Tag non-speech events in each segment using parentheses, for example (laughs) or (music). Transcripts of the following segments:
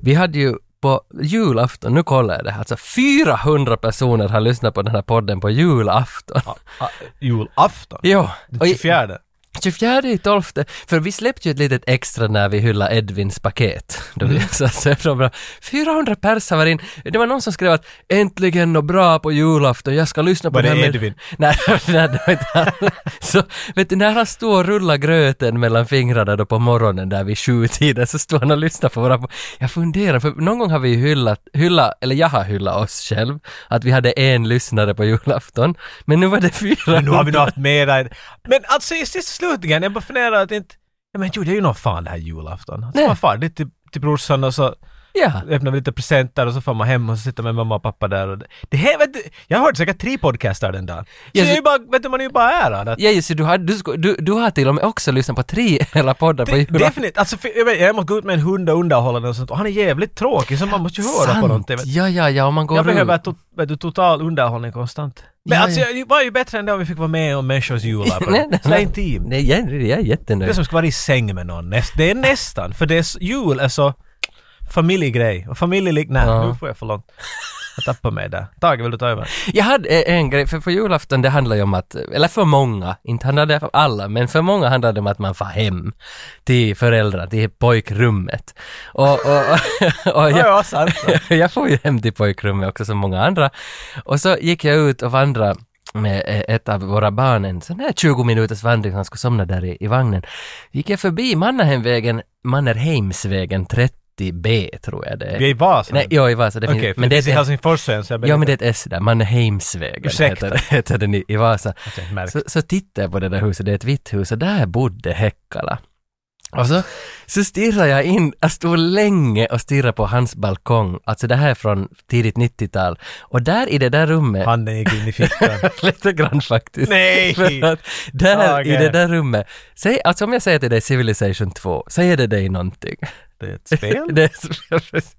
Vi hade ju på julafton, nu kollar jag det här, alltså 400 personer har lyssnat på den här podden på julafton. Ah, julafton? Jo. Den och i- 24? 24 i 12, för vi släppte ju ett litet extra när vi hyllade Edvins paket. Då Mm. vi, (laughs) så att säga, så bra. 400 pers har varit in. Det var någon som skrev att äntligen något bra på julafton, jag ska lyssna på Var den det här med- Edvin? (laughs) Nej, nej, det var inte han. Så vet du, när han står och rullar gröten mellan fingrarna då på morgonen där vid sjutiden så står han och lyssnar på våra... Jag funderar, för någon gång har vi ju hyllat, hylla, eller jag har hyllat oss själv, att vi hade en lyssnare på julafton. Men nu var det fyra. Men nu har vi nog haft mera än... Men alltså i sista slutningen, jag bara funderar att inte... Ja men jo, det är ju någon fan det här julafton. Alltså, Nej. man far dit till, till brorsan och så Ja. öppnar vi lite presenter och så får man hem och så sitter man med mamma och pappa där och det, det här vet du, jag har hört säkert tre podcaster den dagen. Så Ja, jag är så- ju bara, vet du, man är ju bara ärad att Ja, just det, du, har, du, sko- du, du har till och med också lyssnat på tre hela poddar på det, julafton. definitivt, alltså för, jag, vet, jag måste gå ut med en hund och underhålla den och sånt och han är jävligt tråkig så man måste ju höra på någonting. vet du. Ja, ja, ja, om man går Jag behöver ut. to, vet du, total underhållning konstant. Men Ja, alltså ja. jag var ju bättre än det om vi fick vara med om människors jular. (laughs) (laughs) Nej, nej, Sådär nej. intimt. Nej, jag, jag är Det är jättenöjd. som ska vara i säng med någon. Näst, det är nästan, för det är, s- jul är så familjegrej. Och familjelik... Nej, Ja. nu får jag för långt. Jag tappar mig där. Tage, vill du ta över? Jag hade eh, en grej, för på julafton det handlar ju om att, eller för många, inte handlade det för alla, men för många handlade det om att man far hem till föräldrar, till pojkrummet. Och, och, (laughs) och jag, ja sant. jag får ju hem till pojkrummet också som många andra. Och så gick jag ut och vandrade med eh, ett av våra barn, en sån här 20 minuters vandring, han skulle somna där i, i vagnen. Gick jag förbi Mannerheimvägen, Mannerheimsvägen 30B tror jag det är. Vi är i Vasa. Nej, ja, i Vasa, det Okej, finns, för men det finns i ett- Helsingfors än, så jag Ja men det är ett S där, Mannerheimsvägen Ursäkta. heter, heter den i, i Vasa. märkt. Så, så tittar jag på det där huset, det är ett vitt hus och där bodde Häckala. Och så, så stirrar jag in, jag stod länge och stirrade på hans balkong, alltså det här är från tidigt 90-tal. Och där i det där rummet, Handen gick in i fickan. (laughs) lite grann faktiskt. (laughs) Nej! För att där i Tage. det där rummet, säg, alltså om jag säger till dig Civilization 2, säger det dig någonting? Det är ett spel. (laughs) Det är spel, precis.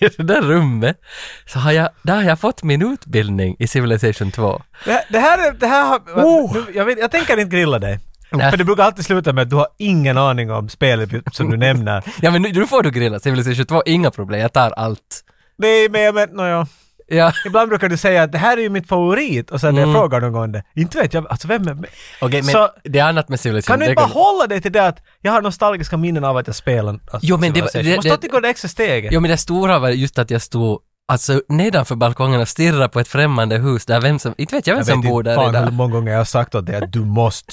I det där rummet, så har jag, där har jag fått min utbildning i Civilization 2. Det här, det här, är- det här har... Oh! Nu, jag, vet, jag tänker inte grilla dig. Nej. För det brukar alltid sluta med att du har ingen aning om spelet som (laughs) du nämner. Ja men nu, nu får du grilla Civilization 2, inga problem, jag tar allt. Nej, men jag menar, nåja. Ja, Ibland brukar du säga att det här är ju mitt favorit och sen när jag Mm. frågar någon gång det. Inte vet jag, alltså vem är... okej men Så- det är annat med Civilization. Kan du det inte bara hålla dig till det att jag har nostalgiska minnen av att jag spelar alltså, Jo, men det- Civilization. det- Måste det- alltid gå det extra steget. Jo men det stora var just att jag stod alltså nedanför balkongen och stirrade på ett främmande hus där vem som, inte vet jag vem jag vet som bor inte där fan hur idag. många gånger jag har sagt åt dig att du måste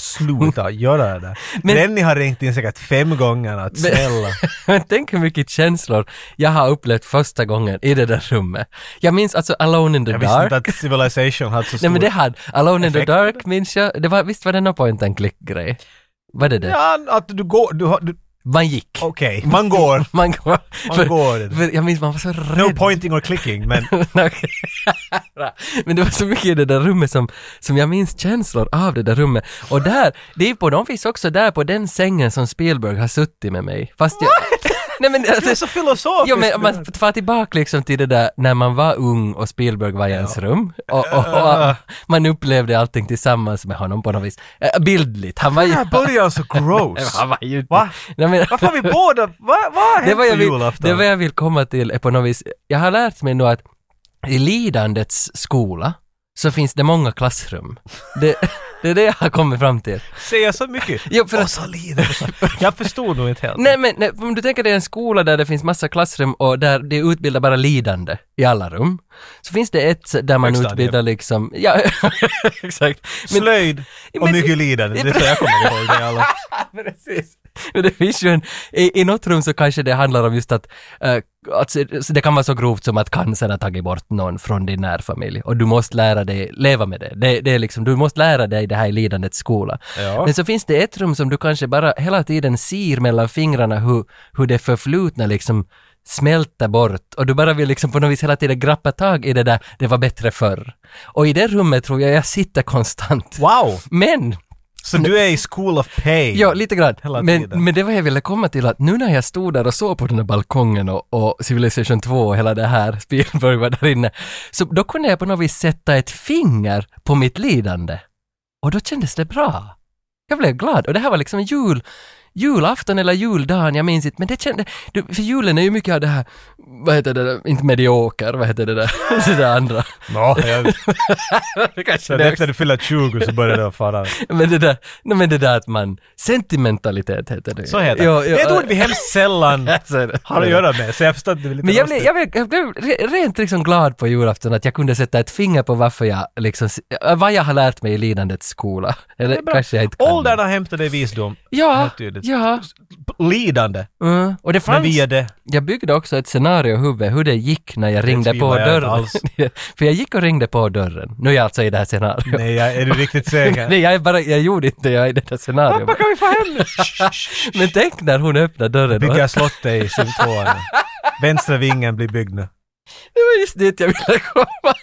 (laughs) sluta göra det där. Men- Rennie har ringt in säkert fem gånger (laughs) att snälla. (laughs) Men tänk hur mycket känslor jag har upplevt första gången i det där rummet. Jag minns alltså Alone in the Jag visste Dark. inte att Civilization hade så stor... Nej men det hade, Alone in effekt. the Dark minns jag, det var, visst var det någon point and click grej? Var det det? Ja, att du går... Du, har- du, Man gick. Okej, man går. (laughs) Man, går- Man för, går. För jag minns man var så rädd. No pointing or clicking, men... (laughs) Okej. (laughs) men det var så mycket i det där rummet som, som jag minns känslor av det där rummet. Och där, det är på, de finns också där på den sängen som Spielberg har suttit med mig. Fast jag... (laughs) Nej men Det är alltså, så filosofiskt. Jo men om man far tillbaka liksom till det där när man var ung och Spielberg var i ens rum och, och, och, man upplevde allting tillsammans med honom på något vis. Eh, Bildligt, han var ju... (laughs) Den här början så gross. Han var ju... Va? Nej, men, Varför har vi båda... Va, vad har det hänt var, jag på vill, julafton? det var jag vill komma till är på något vis, jag har lärt mig nu att i lidandets skola så finns det många klassrum. Det, (laughs) det är det jag har kommit fram till. Säga så mycket. Jo, för att- Och så lider jag så- Jag förstod nog inte helt. Nej men nej, om du tänker dig en skola där det finns massa klassrum och där det utbildar bara lidande i alla rum. Så finns det ett där man Högstadiet. utbildar liksom, ja (laughs) exakt. Men, Slöjd och Men- mycket lidande, det är så jag kommer ihåg det alla. (laughs) precis. Men det finns ju en, i, i något rum så kanske det handlar om just att, eh, att se- så det kan vara så grovt som att cancern har tagit bort någon från din närfamilj och du måste lära dig leva med det. Det, det är liksom, du måste lära dig det här i lidandets skola. Ja. Men så finns det ett rum som du kanske bara hela tiden ser mellan fingrarna hur, hur det förflutna liksom smälter bort och du bara vill liksom på något vis hela tiden grappa tag i det där, det var bättre förr. Och i det rummet tror jag jag sitter konstant. Wow! Men Så du är i School of Pain. Ja, lite grann. Hela men, tiden. men det var jag ville komma till att nu när jag stod där och såg på den där balkongen och, och Civilization 2 och hela det här, (laughs) Spielberg var där inne, så då kunde jag på något vis sätta ett finger på mitt lidande. Och då kändes det bra. Jag blev glad. Och det här var liksom jul, julafton eller juldagen, jag minns inte, men det kände, du, för julen är ju mycket av det här vad heter det, där? inte medioker, vad heter det där, (laughs) det där (laughs) andra. Nå, jag, Kanske sen det efter du fyller 20 så börjar det vara faran. Men det där, nej men det där att man, sentimentalitet heter det ju. Så heter det. Jo, jo, det är ett ord vi hemskt sällan (laughs) så är det. har att göra med, så jag förstår att det är lite Men jag blev, lustigt. jag, blev, jag blev re- rent liksom glad på julafton att jag kunde sätta ett finger på varför jag liksom, vad jag har lärt mig i lidandets skola. Det är Eller bra. kanske jag inte kan. Åldern har hämtat dig visdom. Ja, Helt tydligt. ja. Lidande. Mm. Och det Men fanns, via det. jag byggde också ett scenario i huvudet hur det gick när jag ringde på tvivlar jag inte dörren. alls. (laughs) För jag gick och ringde på dörren. Nu är jag alltså i det här scenariot. Nej, jag, är (laughs) du riktigt säker? Nej, jag, är bara, jag gjorde inte, jag är i det här scenariot. kan vi få hem nu? Men tänk när hon öppnar dörren. och- Bygga slottet i sim 2 nu. Vänstra vingen blir byggd nu. Det var just dit jag ville komma.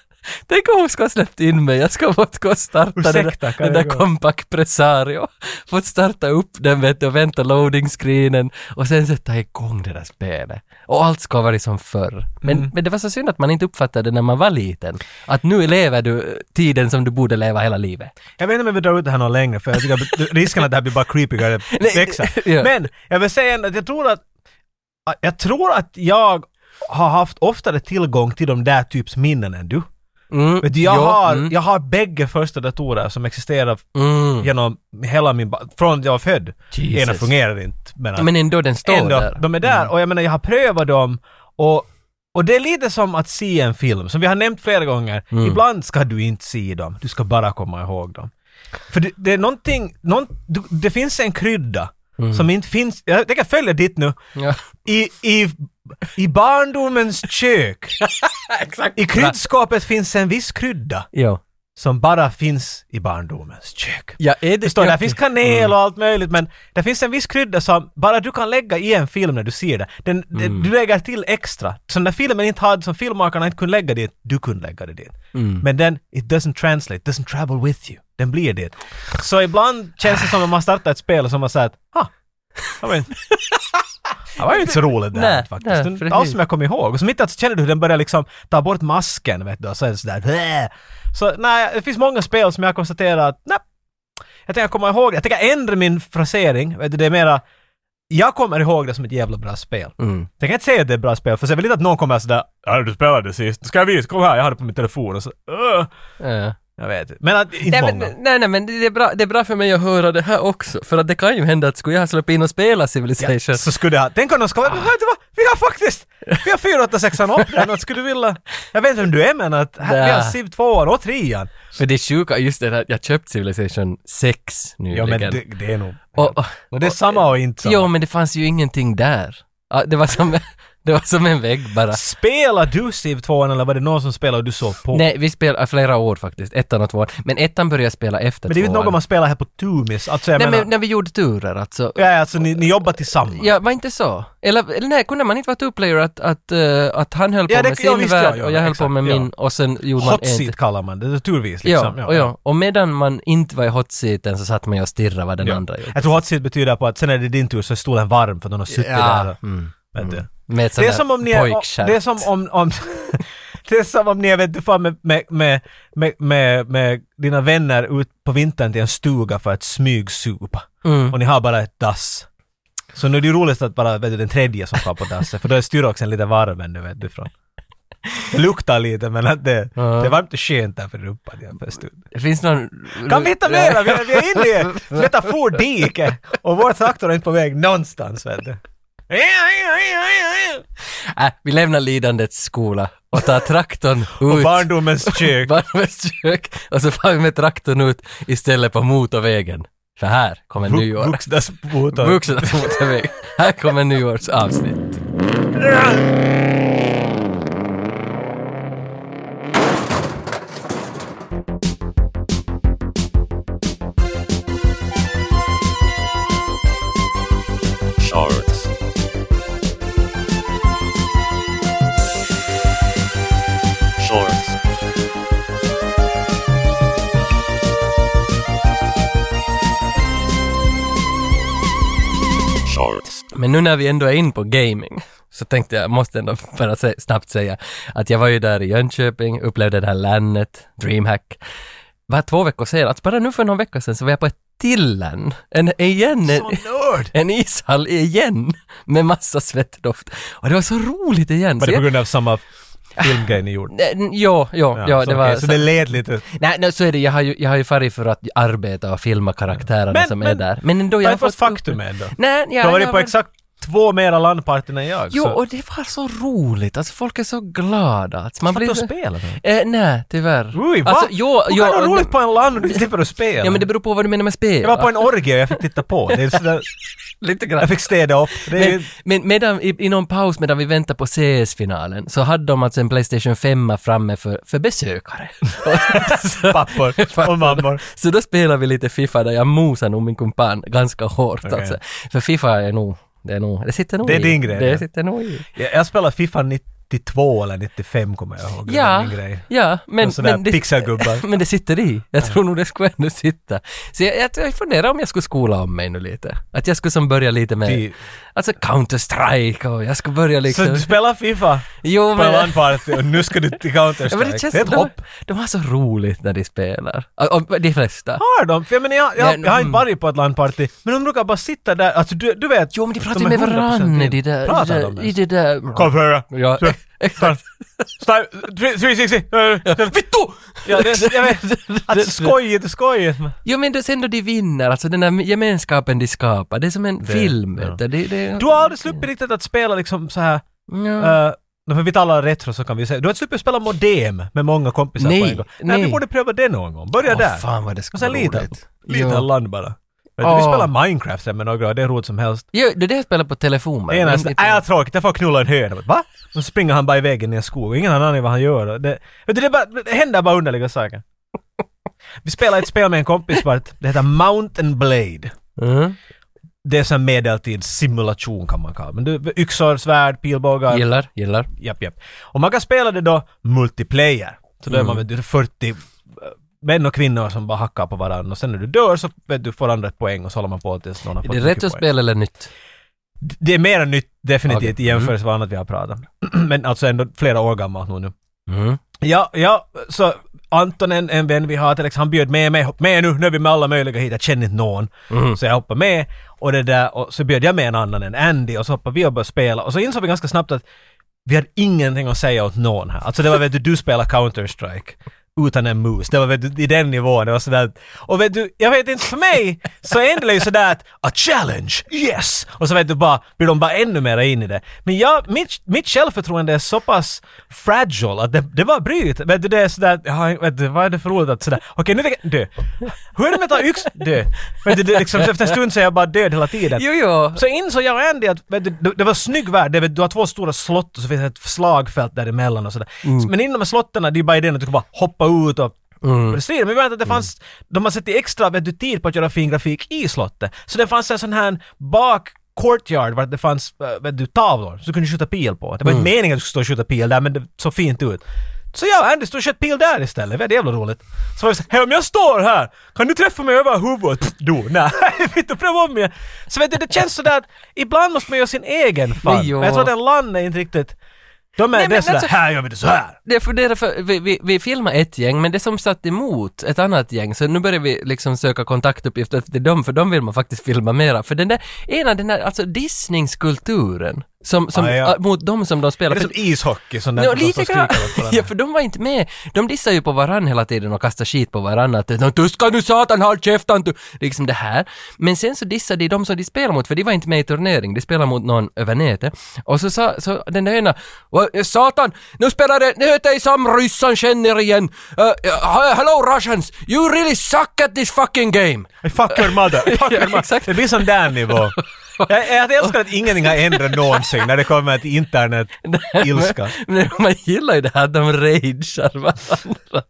Tänk om hon ska ha släppt in mig, jag ska ha fått gå och starta den Ursäkta, där, kan den jag där gå? Compact Presario. Fått starta upp den vet du, och vänta loading-screenen och sen sätta igång det där spelet. Och allt ska vara som förr. Men, Mm. men det var så synd att man inte uppfattade det när man var liten. Att nu lever du eh, tiden som du borde leva hela livet. Jag vet inte om jag vill dra ut det här någon längre för jag tycker att risken att det här blir bara creepigare Nej, växer. (laughs) ja. Men jag vill säga ändå att jag tror att jag tror att jag har haft oftare tillgång till de där typs minnen än du. Mm, Vet du, jag, jo, har, mm, jag har bägge första datorer som existerar mm, genom hela min... ba- Från jag var född. Jesus. Ena fungerar inte. Men, att- Men ändå, den står ändå, (laughs) där. de är där. Och jag menar, jag har prövat dem och, och det är lite som att se en film, som vi har nämnt flera gånger. Ibland ska du inte se dem, du ska bara komma ihåg dem. För det, det är någonting, någon, du, det finns en krydda som inte finns, jag tänker följa ditt nu, Ja, i, i, i barndomens kök. exakt. I kryddskåpet finns en viss krydda Jo. som bara finns i barndomens kök. Ja, är det... Förstår, du? ja, där finns kanel och allt möjligt men det finns en viss krydda som bara du kan lägga i en film när du ser det. Den, den- Du lägger till extra. Så när filmen inte hade, som filmmakarna inte kunde lägga det, du kunde lägga det dit. Mm. Men den, it doesn't translate, doesn't travel with you. Den blir det. Så ibland känns det som att man startar ett spel och så man säger att, ha, jag vet inte." Det var ju inte så roligt det här Nej, nej, faktiskt. Nej, precis. allt som jag kom ihåg. Och som inte alltså känner du hur den börjar liksom ta bort masken vet du och så är det sådär "Bäh." Så nej, det finns många spel som jag konstaterar att nej, jag tänker komma ihåg det. Jag tänker ändra min frasering. Vet du, det är mera jag kommer ihåg det som ett jävla bra spel. Mm. Jag kan inte säga att det är ett bra spel, för jag vill inte att någon kommer sådär ”Ja, du spelade sist. Ska jag visa? Kom här, jag har det på min telefon” och så "Åh." Ja. Jag vet inte. Men att, Nej inte många. men, nej, nej, men det, är bra, det är bra för mig att höra det här också, för att det kan ju hända att skulle jag ha släppt in och spela Civilization, så skulle jag... Tänk om de ska Ah. vara... Vet du vad? Vi har faktiskt... Vi har 486 upp den. Att Skulle du vilja... Jag vet inte vem du är men att... Här, vi har Nä. Civ 2 och 3 för det sjuka är just det där att jag köpt Civilization 6 Ja nyligen. men det, det är nog... och, och, Och det är samma och inte jo samma. men det fanns ju ingenting där. Ja, det, var som, (laughs) det var som en vägg bara. Spelar du Civ 2 eller var det någon som spelade och du såg på? Nej, vi spelade flera år faktiskt, ettan och tvåan. Men ettan började jag spela efter men det är ju inte tvåan. något man spelar här på Tumis. Alltså jag Nej menar... men när vi gjorde turer alltså. ja, alltså ni, ni jobbar tillsammans. Ja, var inte så? Eller, eller nej, kunde man inte vara two-player att, att, eh, att han höll på Ja, det- med sin ja, visst, ja, värld ja, och jag höll på exakt, med ja. min och sen gjorde man Hot en- seat kallar man det, det är turvis liksom. ja, och ja, och medan man inte var i hotseaten så satt man ju och stirrade vad den Ja. andra gjorde. Jag tror hot seat betyder på att sen är det din tur så är stolen varm för att någon har suttit där och, Mm. vet du. Med ett Det är sånt som om ni där är, om- pojkskämt. det är som om, om (laughs) det är som om ni är, vet du fan med, med, med, med, med, med dina vänner ut på vintern till en stuga för att smygsupa. Mm. Och ni har bara ett dass. Så nu är det ju roligt att bara, vet du, den tredje som far på dasset, för då är styroxen lite varm ännu, vet du, från. Det luktar lite men att det, det är varmt och skönt där för rumpan igen för en stund. Det finns någon... Kan vi hitta mera? Vi är, vi är inne i ett metafordike och vår traktor är inte på väg någonstans vet du. Äh, vi lämnar lidandets skola och tar traktorn ut. (laughs) Och barndomens kök. Barnens kök. Och så far vi med traktorn ut istället på motorvägen. För här kommer Vux- nyår. Vuxnas motor. Vuxna motorväg. Här kommer nyårsavsnitt. Shorts. Shorts. Shorts. Men nu när vi ändå är in på gaming (laughs) så tänkte jag, måste ändå bara sä- snabbt säga att jag var ju där i Jönköping, upplevde det här landet, DreamHack. Bara två veckor sedan, alltså bara nu för någon vecka sedan så var jag på ett Tillen. En, igen, en, Så nörd! (laughs) en ishall igen med massa svettdoft. Och det var så roligt igen. Var så det jag, på grund (laughs) av samma filmgrej ni gjorde? Nej, n- ja, ja, ja, så det var... okej, Så det led lite... Nej, nej, så är det. Jag har ju, jag har ju farit för att arbeta och filma karaktärerna Men- som är men- där. Men ändå, Det jag var har inte fått fått... faktum ändå. Nej, ja, Du har varit ja, på men- exakt två mera landparten än jag. Jo, så. och det var så roligt. Alltså folk är så glada. Alltså, man Satt du och blir... spelade? Eh, nej, tyvärr. Oj, va? Alltså, jo, Hur jo, kan du ha roligt på en land och du slipper att spela? Ja, men det beror på vad du menar med spel. jag var på en orgie och jag fick titta på. Det är sådär, Lite grann. jag fick städa upp. Det är, (laughs) Men, men medan, i, i någon paus medan vi väntar på CS-finalen så hade de alltså en Playstation 5 framme för, för besökare. Så- Pappor (laughs) (laughs) och Pappor. mammor. Så då spelar vi lite Fifa där jag mosar nog min kumpan ganska hårt Okej. alltså. För Fifa är nog, det är nog, det sitter nog Det är i. din grej, Det ja. sitter nog i. jag, jag spelade Fifa 92 eller 95 kommer jag ihåg. Det var Ja, min grej. ja, men, Men, sådär men, det, (laughs) pixelgubbar. men det sitter i. Jag tror nog det skulle ändå sitta. Så jag, jag, jag funderar om jag skulle skola om mig nu lite. Att jag skulle som börja lite med, Ty- alltså Counter-Strike och jag skulle börja Så liksom... du spelar Fifa jo, på en landparty och nu ska du till Ja, men Counter-Strike. det Det känns, är ett de, hopp. de har så roligt när de spelar. Och, och de flesta. Har de? För jag, menar, jag, jag, Men- jag har inte varit på ett landparty, men de brukar bara sitta där. Alltså du, du vet. Jo men de pratar är ju med 100% varandra i det där... i Pratar det- de I ens? det där... Kom för höra. Ja, (laughs) Så- Fan. Star- 360! eh, Vittu! Ja, det, (laughs) jag vet. Att skojigt är skojigt. men- Jo men då, sen då de vinner, alltså den där gemenskapen de skapar, det är som en film. ja. vet du. Det, det, Du har aldrig sluppit riktigt att spela liksom så här. Ja. eh, för vi talar retro så kan vi säga. Du har inte sluppit spela modem med många kompisar Nej, på en gång. Nej, nej. vi borde pröva det någon gång. Börja Åh, där. fan vad det skulle Och sen vara lite- roligt. Lite Jo. land bara. Vet du, Åh. Vi spelar Minecraft sen med några och det är roligt som helst. Jo, det är det jag spelar på telefonen. Ena är men sådär, inte- nej jag tråkigt, jag får knulla en höna. Va? Och så springer han bara i vägen i en skog och ingen har en aning vad han gör. Och Det, vet du, det, bara, det händer bara underliga saker. Vi spelade ett spel med en kompis vart, det heter Mountain Blade. Mm. Det är sån medeltidssimulation kan man kalla det. Men du, yxor, svärd, pilbågar. Gillar, gillar. Japp, japp. Och man kan spela det då multiplayer. Så då är man Mm. vet du, 40 eh, män och kvinnor som bara hackar på varandra och sen när du dör så vet du, får andra ett poäng och så håller man på tills någon har Är fått det mycket rätt att poäng. spela eller nytt? Det är mer än nytt definitivt Okej. Mm. i jämförelse med annat vi har pratat om. (clears throat) Men alltså ändå flera år gammalt nog nu. Mm. Ja, ja, så Anton, en, en vän vi har till exempel, han bjöd med mig, hopp med nu, nu är vi med alla möjliga hit, jag känner inte någon. Mm. Så jag hoppade med och det där, och så bjöd jag med en annan, en Andy, och så hoppade vi och började spela. Och så insåg vi ganska snabbt att vi hade ingenting att säga åt någon här. Alltså det var vet du, du spelar Counter-Strike utan en mus. Det var vet du, i den nivån, det var sådär. att- Och vet du, jag vet inte, för mig så är det ju sådär att a challenge, yes! Och så vet du bara, blir de bara ännu mer in i det. Men jag, mitt, mitt självförtroende är så pass fragile att det, det var bryt. Vet du, det är sådär, att, ja, vet du, vad är det för roligt att sådär, okej nu tänker jag, dö. Hur är det med att ta yx, dö? Vet du, det, är liksom, efter en stund så är jag bara död hela tiden. Jo, jo. Så insåg jag och Andy att vet du, det, det var en snygg värld, det, är väl- du har två stora slott och så finns det ett slagfält däremellan och sådär. Men inom de här slotten, det är ju bara idén att du kan bara hoppa ut och och det strider. Men vi vet att det fanns, de har sett extra vet du, tid på att göra fin grafik i slottet. Så det fanns en sån här bak courtyard vart det fanns äh, vet du, tavlor som du kunde skjuta pil på. Det var inte meningen att du skulle stå och skjuta pil där men det såg fint ut. Så jag och Andy stod och sköt pil där istället, det var jävla roligt. Så var vi såhär, hej om jag står här, kan du träffa mig över huvudet? Pff, Du, nej, (laughs) vet du, pröva om igen. Så vet du, det känns sådär att ibland måste man göra sin egen fan. Nej, jo. Men jag tror att en land är inte riktigt... De är, Nej, det är men sådär, alltså- här gör vi det så här. Det funderar för, vi, vi, vi filmade ett gäng, men det som satt emot ett annat gäng, så nu börjar vi liksom söka kontaktuppgifter efter dem, för dem vill man faktiskt filma mera. För den där, ena den där, alltså dissningskulturen, som, som, Ah, ja. äh, mot dem som de Är spelar. det För, som ishockey? Sån där, Ja, de som lite skriker grann. åt (laughs) varandra? Ja, för de var inte med. De dissar ju på varann hela tiden och kastar skit på varann. Att "Nå, du ska nu satan håll käften du! Liksom det här. Men sen så dissade de de som de spelade mot, för de var inte med i turnering. De spelade mot någon över nätet. Och så sa så den där ena, "Vad, eh, satan, nu spelar det, nu heter jag som ryssen känner igen. Uh, uh, hello Russians, you really suck at this fucking game. I fuck your mother! I (laughs) fuck Ja, your mother! exakt. Det blir sån där (laughs) nivå. Jag, jag älskar att ingenting har ändrat någonsin när det kommer till (laughs) internet ilska. Men man gillar ju det här att de ragear varandra.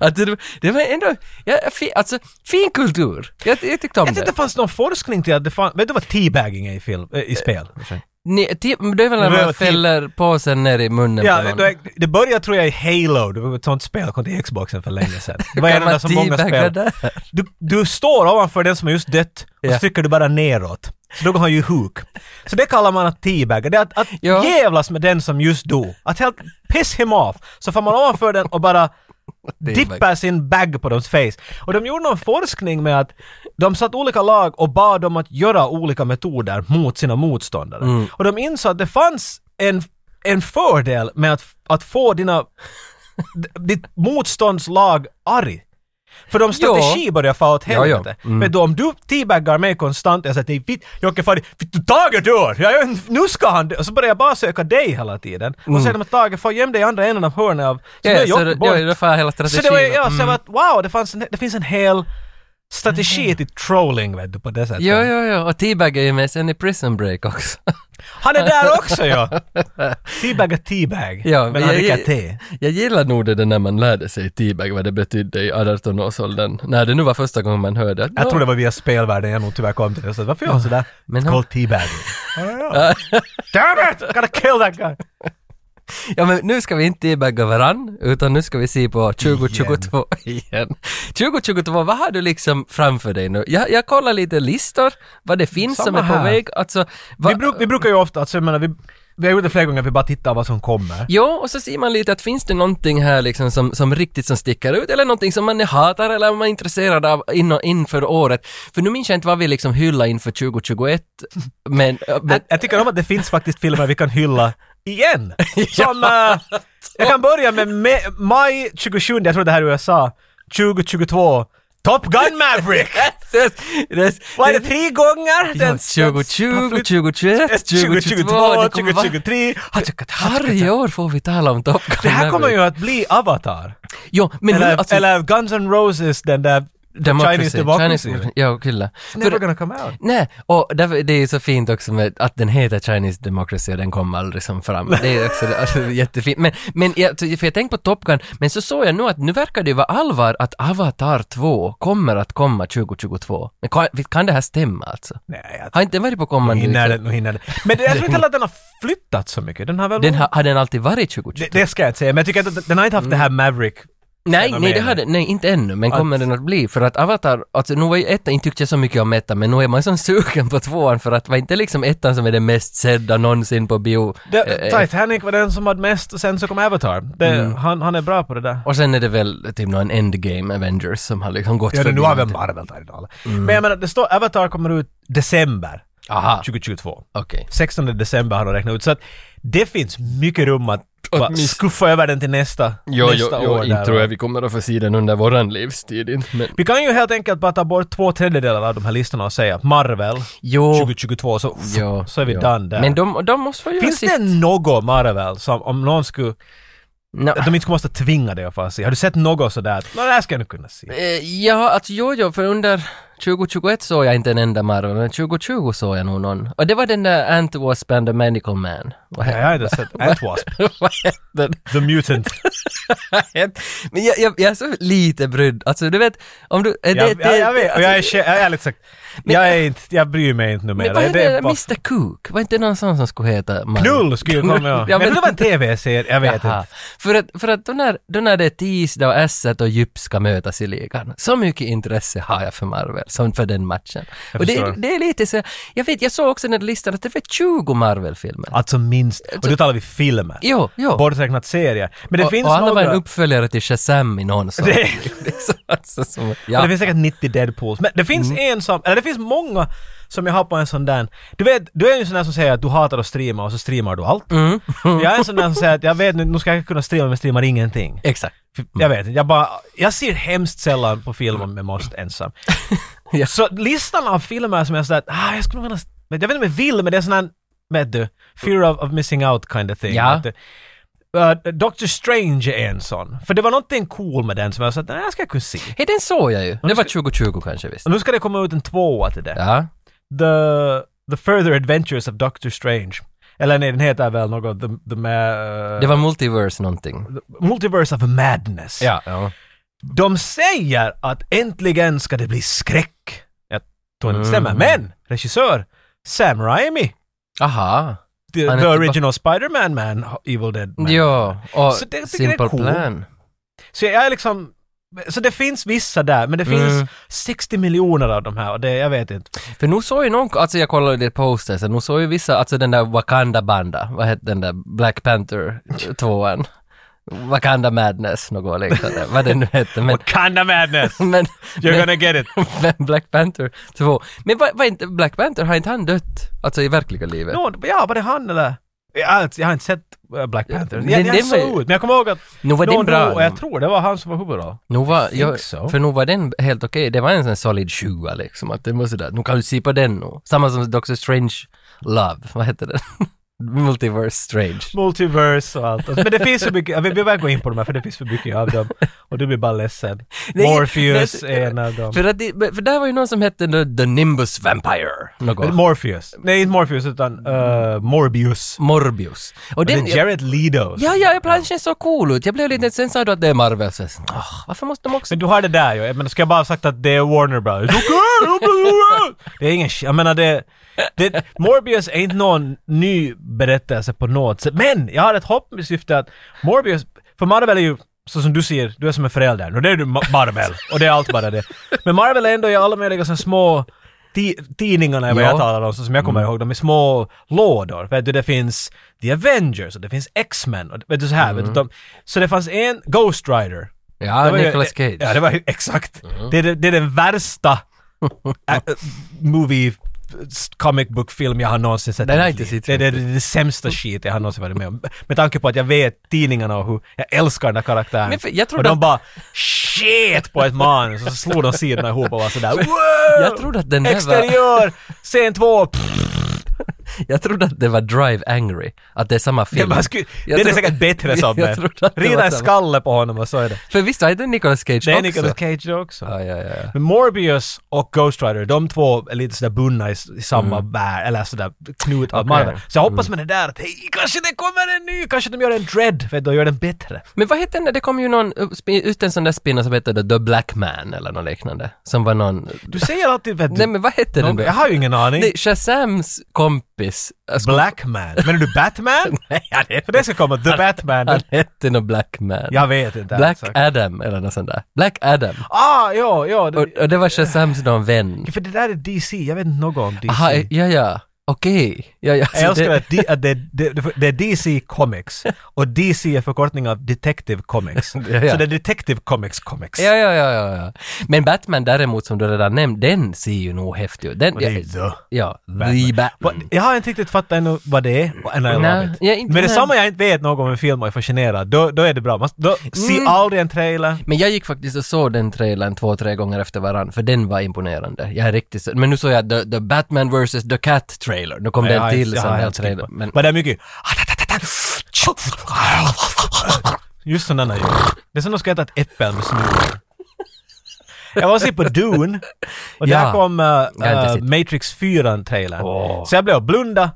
Att det, det var ändå, ja, fi, alltså fin kultur. Jag, jag tyckte om Jag tyckte det. det fanns någon forskning till att det fanns... Vet du vad teabbagging är i, film, eh, i spel? Ni, ti, det är väl när Det var man ti- fäller påsen ner i munnen Ja, på någon. det, det började tror jag i Halo, det var ett sånt spel, kom till Xboxen för (laughs) länge sedan. Det var Kan en av man de så många teabagga spel. där? Du, du står ovanför den som har just dött och Ja. så trycker du bara neråt. Så då går han ju huk. Så det kallar man att teabagga. Det är att, att Ja. jävlas med den som just dog. Att helt piss him off. Så får man ovanför den och bara Det är bara- dippar sin bag på deras face. Och de gjorde någon forskning med att de satt olika lag och bad dem att göra olika metoder mot sina motståndare. Mm. Och de insåg att det fanns en, en fördel med att, att få dina, (laughs) d- ditt motståndslag arg. För de strategi börjar få åt Ja, Mm. ja. helvete. Men då om du teabaggar mig konstant, jag säger till dig, "Vitt, Jocke Fadi, "Vitt, du, Tage dör! Jag, gör en- nu ska han dö! Och så börjar jag bara söka dig hela tiden. Och sen om Tage, få göm dig i andra änden av hörnet av... Så Mm. Ja, nu är så Jocke det, borta. ja, Alltså, det mm. var hela strategin. Så det var ju, ja, så jag var att wow, det, fanns en, det finns en hel strategi Mm. till trolling vet du på det sättet. Jo, jo, jo. Och T-Bag är ju med sen i Prison Break också. (laughs) Han är där också ja! Teabag är teabag, Ja, men han jag- dricker te. Jag gillar nog det där när man lärde sig T-Bag, vad det betydde i 18-årsåldern. När det nu var första gången man hörde. att, Jag "Nå, tror det var via spelvärlden jag nog tyvärr kom till det, så varför gör han sådär? Men It's han- called (laughs) teabagging. Oh, ja. Damn it! Gotta kill that guy! Ja men nu ska vi inte debugga varann, utan nu ska vi se på 2022 igen. 2022, vad har du liksom framför dig nu? Jag, jag kollar lite listor, vad det finns som Samma är på här. väg. Alltså, vad, Vi, bruk, vi brukar ju ofta, alltså, jag menar, vi, vi har gjort det flera gånger, vi bara tittar vad som kommer. Jo, och så ser man lite att finns det någonting här liksom som, som riktigt som sticker ut eller någonting som man hatar eller man är intresserad av in, inför året. För nu minns jag inte vad vi liksom hyllade inför 2021, (laughs) men... men Jag, jag tycker om att det finns faktiskt filmer vi kan hylla igen. Som, eh, jag kan börja med me- maj 27, jag tror det här är USA, 2022. Top Gun Maverick! Yes, (laughs) yes. Vad är det, tre Ja, gånger? Den- 2020, den- 2021, 2022, 2022, det kommer vara- 2023. Varje år får vi tala om Top Gun Det här kommer Maverick. ju att bli Avatar. Jo, men nu, Eller, alltså, eller Guns N' Roses, den där democracy, Chinese Democracy. Chinese- ja, kyllä. Never För- gonna come out. Nej, och därför, det är ju så fint också med att den heter Chinese Democracy och den kom aldrig som fram. Det är (laughs) också alltså, jättefint. Men, men jag, för jag tänkte på Top Gun, men så såg jag nu att nu verkar det ju vara allvar att Avatar 2 kommer att komma 2022. Men kan, kan det här stämma alltså? Nej, jag Har inte varit på kommande... hinner den, nu hinner den. Men det- jag tror inte heller att den har flyttat så mycket. Den har väl... Den har, har den alltid varit 2022? det, det ska jag inte säga, men jag tycker att den- den har inte haft det Mm. här Maverick. Nej, fenomen. nej, det hade, nej, inte ännu, men kommer den att bli? För att Avatar, alltså nu var ju ettan, inte tyckte jag så mycket om ettan, men nu är man som sugen på tvåan för att var inte liksom ettan som är den mest sedda någonsin på bio? Det, Eh, Mm. Titanic var den som hade mest och sen så kom Avatar. Det, han, han är bra på det där. och sen är det väl typ någon endgame Avengers som har liksom gått Ja, nu har vi förbi. Marvel där idag. Men jag menar, det står Avatar kommer ut december Aha, 2022. okej. 16 december har de räknat ut. Så att det finns mycket rum att bara Åtminstone- skuffa över den till nästa, nästa år. där, va? vi kommer att få se den under våran livstid inte, men... Vi kan ju helt enkelt bara ta bort två tredjedelar av de här listorna och säga Marvel Jo, 2022 så, jo, så är vi jo. done där. Men de, de måste få göra Finns sitt. det något Marvel som om någon skulle, Nå. att de inte skulle måste tvinga dig att få se? Har du sett något sådär? att, "Nå, Det här ska jag nu kunna se. Eh, Ja, alltså jo, jo, för under 2021 såg jag inte en enda Marvel, men 2020 såg jag nog någon. Och det var den där Ant-Wasp and the Medical Man. Vad Nej, hette jag har inte sett Ant-Wasp, (laughs) vad hette den? The Mutant. Men jag, jag, jag är så lite brydd. Alltså du vet, om du... eh, (laughs) Det, jag, jag, jag vet, och jag är, alltså, kä- jag är ärligt sagt, jag, är inte, jag bryr mig inte men numera. vad Det hette är den där bara- Mr Cook? Var inte någon sån som skulle heta Marvel? Knull skulle ju komma ihåg. (laughs) Ja, Men men- det var en TV-serie, jag vet Jaha. inte. För att, för att då, när, då när det är tisdag och Esset och Djup ska mötas i ligan, så mycket intresse har jag för Marvel, som för den matchen. Jag och det, förstår. är- det är lite så, jag vet, jag såg också den här listan att det var 20 Marvel-filmer. Alltså minst, och då talar vi filmer. Jo, jo. Borträknat serier. Men det och, finns och alla några... var en uppföljare till Shazam i någon sån. Det- (laughs) Det är så- alltså, som, Men ja. Mm. Det finns säkert 90 Deadpools. Men det finns en som, eller det finns många som jag har på en sån där. Du vet, du är ju en sån där som säger att du hatar att streama och så streamar du allt. Mm. (laughs) Jag är en sån där som säger att jag vet nu, nu ska jag kunna streama men jag streamar ingenting. Exakt. Jag vet inte, jag bara, jag ser hemskt sällan på film om jag måste ensam. (laughs) Ja. Så listan av filmer som jag sådär, ah, jag skulle nog vilja, men jag vet inte om jag vill men det är sån här, vet du, fear of, of missing out kind of thing. Ja. Att, eh, Doctor Strange är en sån. För det var någonting cool med den som jag sa att den här ska jag kunna se. Hej, den såg jag ju. Det var 2020 kanske visst. Och nu ska det komma ut en tvåa till det. Ja. The, the Further Adventures of Doctor Strange. Eller nej, den heter väl något, the, the ma- eh, Det var Multiverse någonting. Multiverse of Madness. Ja. ja. De säger att äntligen ska det bli skräck. Jag tror inte det Mm. stämmer, men regissör Sam Raimi, Aha. the, Han är the tillbaka. original Spider-Man man, Evil Dead man. Ja, och Så det- jag tycker det är Simple cool. Plan. Så jag är liksom, så det finns vissa där, men det finns Mm. 60 miljoner av de här och det, jag vet inte. För nu såg ju någon, alltså jag kollade det posters, nu såg ju vissa, alltså den där Wakanda Banda, vad hette den där Black Panther eh, tvåan? Wakanda Madness, något liknande, vad det nu hette. Men, Wakanda madness! men, You're men, gonna get it! men Black Panther 2. Men vad, vad inte, Black Panther, har inte han dött? Alltså i verkliga livet? Nå, ja, var det han eller? Jag, har inte- jag har inte sett eh, Black Panther. men Jag, den- jag den såg var- ut, men jag kommer ihåg att Nu var någon den bra. dog och jag tror det var han som var huvudroll. Nu var, think jag, so. för nu var den helt okej. Det var en sån solid sjua liksom. Att det var sådär, nu kan du se på den nu. Samma som Doctor Strange Love, vad heter den? (laughs) Multiverse Strange. Multiverse och allt. Men det finns så mycket, ja, vi behöver inte gå in på de här för det finns för mycket av dem. Och du blir bara ledsen. Nej, Morpheus men- är en av dem. För, att det, men- för där var ju någon som hette The, the Nimbus Vampire. Något. Mm. Morpheus. Nej, inte Morpheus utan eh, Morbius. Morbius. Och Det den, är Jared Leto. ja, ja, ibland känns så cool ut. Jag blev lite, sen sa du att det är Marvel, så jag sa, "Åh, varför måste de också... Men du har det där ju. Men ska jag bara ha sagt att det är Warner Brothers? Okej, jag blir rädd. Det är ingen sh- Jag menar det, det... Morbius är inte någon ny berättelse på något sätt. Men jag har ett hopp med syfte att Morbius... För Marvel är ju, så som du ser, du är som en förälder. Och det är du Ma- Marvel. Och det är allt bara det. Men Marvel är ändå i alla möjliga så små... ti- Tidningarna är vad Ja. jag talar om, så som jag kommer ihåg, de är små lådor. Vet du, det finns The Avengers och det finns X-Men och vet du så här, vet du, de, Så det fanns en Ghost Rider Ja, det var ju- Nicolas Cage. Mm. Ja, det var ju exakt. Det, är, det- det är den värsta ä, ä, movie s- comic book film jag har någonsin sett. i Den har mitt jag inte liv. sett. Mm. Det är det, det, är det sämsta shit jag har någonsin varit med om. Med tanke på att jag vet tidningarna och hur jag älskar den här karaktären. Men för- jag trodde och de att- bara shit på ett manus och så slog de sidorna ihop och (laughs) var sådär wow! Jag trodde att den här var... Exteriör! Scen två! Pff, Jag trodde att det var Drive Angry, att det är samma film. det var sku- Jag den är tro- säkert bättre som (laughs) Jag den. trodde att det Rida var en samma. skalle på honom och så är det. För visst var det Nicolas Cage Det är också? Nicolas Cage också. Ja, ja, ja. ja. Men Morbius och Ghost Rider, de två är lite sådär bundna i, s- i samma bär, eller sådär knut av Mm. Okej. Mm. Marvel. Så jag hoppas med det där att hej, kanske det kommer en ny, kanske de gör en dread, för då gör den bättre. Men vad hette den där, det kom ju någon, eh, spi- ut en sån där spinner som hette The Black Man eller något liknande. Som var någon... Du säger alltid, vet du, Nej men vad hette den någon, då? jag har ju ingen aning. Nej, Shazams kompis, alltså, Black Man. Menar (laughs) du Batman? Nej, ja, det- för det ska komma, The Batman. han hette nog Black Man. jag vet inte. Alltså, Black exakt. Adam eller något sånt där. Black Adam. Ah, ja, ja. Och, Det, och det var Shazams någon vän. för det där är DC, jag vet inte något om DC. Aha, eh, ja ja, okej. Ja, ja, Jag så älskar Alltså, det, att de- att det, det, det, det är DC Comics och DC är förkortning av Detective Comics. (laughs) ja. Så det är Detective Comics Comics. ja, ja, ja, ja, ja. Men Batman däremot som du redan nämnt, den ser ju nog häftig ut. Den, Och det är ju ja, the Ja, The Batman. Vad- Batman. Jag har inte riktigt fattat ännu vad det är och ännu Nej, jag jag jag är inte Men det med. samma jag inte vet något om en film och är fascinerad, då, då är det bra. Man, då, Se Mm. aldrig en trailer. Men jag gick faktiskt och såg den trailern två, tre gånger efter varann, för den var imponerande. Jag är riktigt så- Men nu såg jag The, the Batman vs. The Cat-trailer. Nu kom Nej, jag den har till inte- jag som har hel inte tittat trailer. på. Men, Men det är mycket (laughs) Just sådana ljud. Det är som om de ska äta ett äpple med snurr. Jag var och såg på Dune och Ja. där kom eh, Jag har inte eh, sett. Matrix 4 trailern. Åh. Mm. Så jag blev och blunda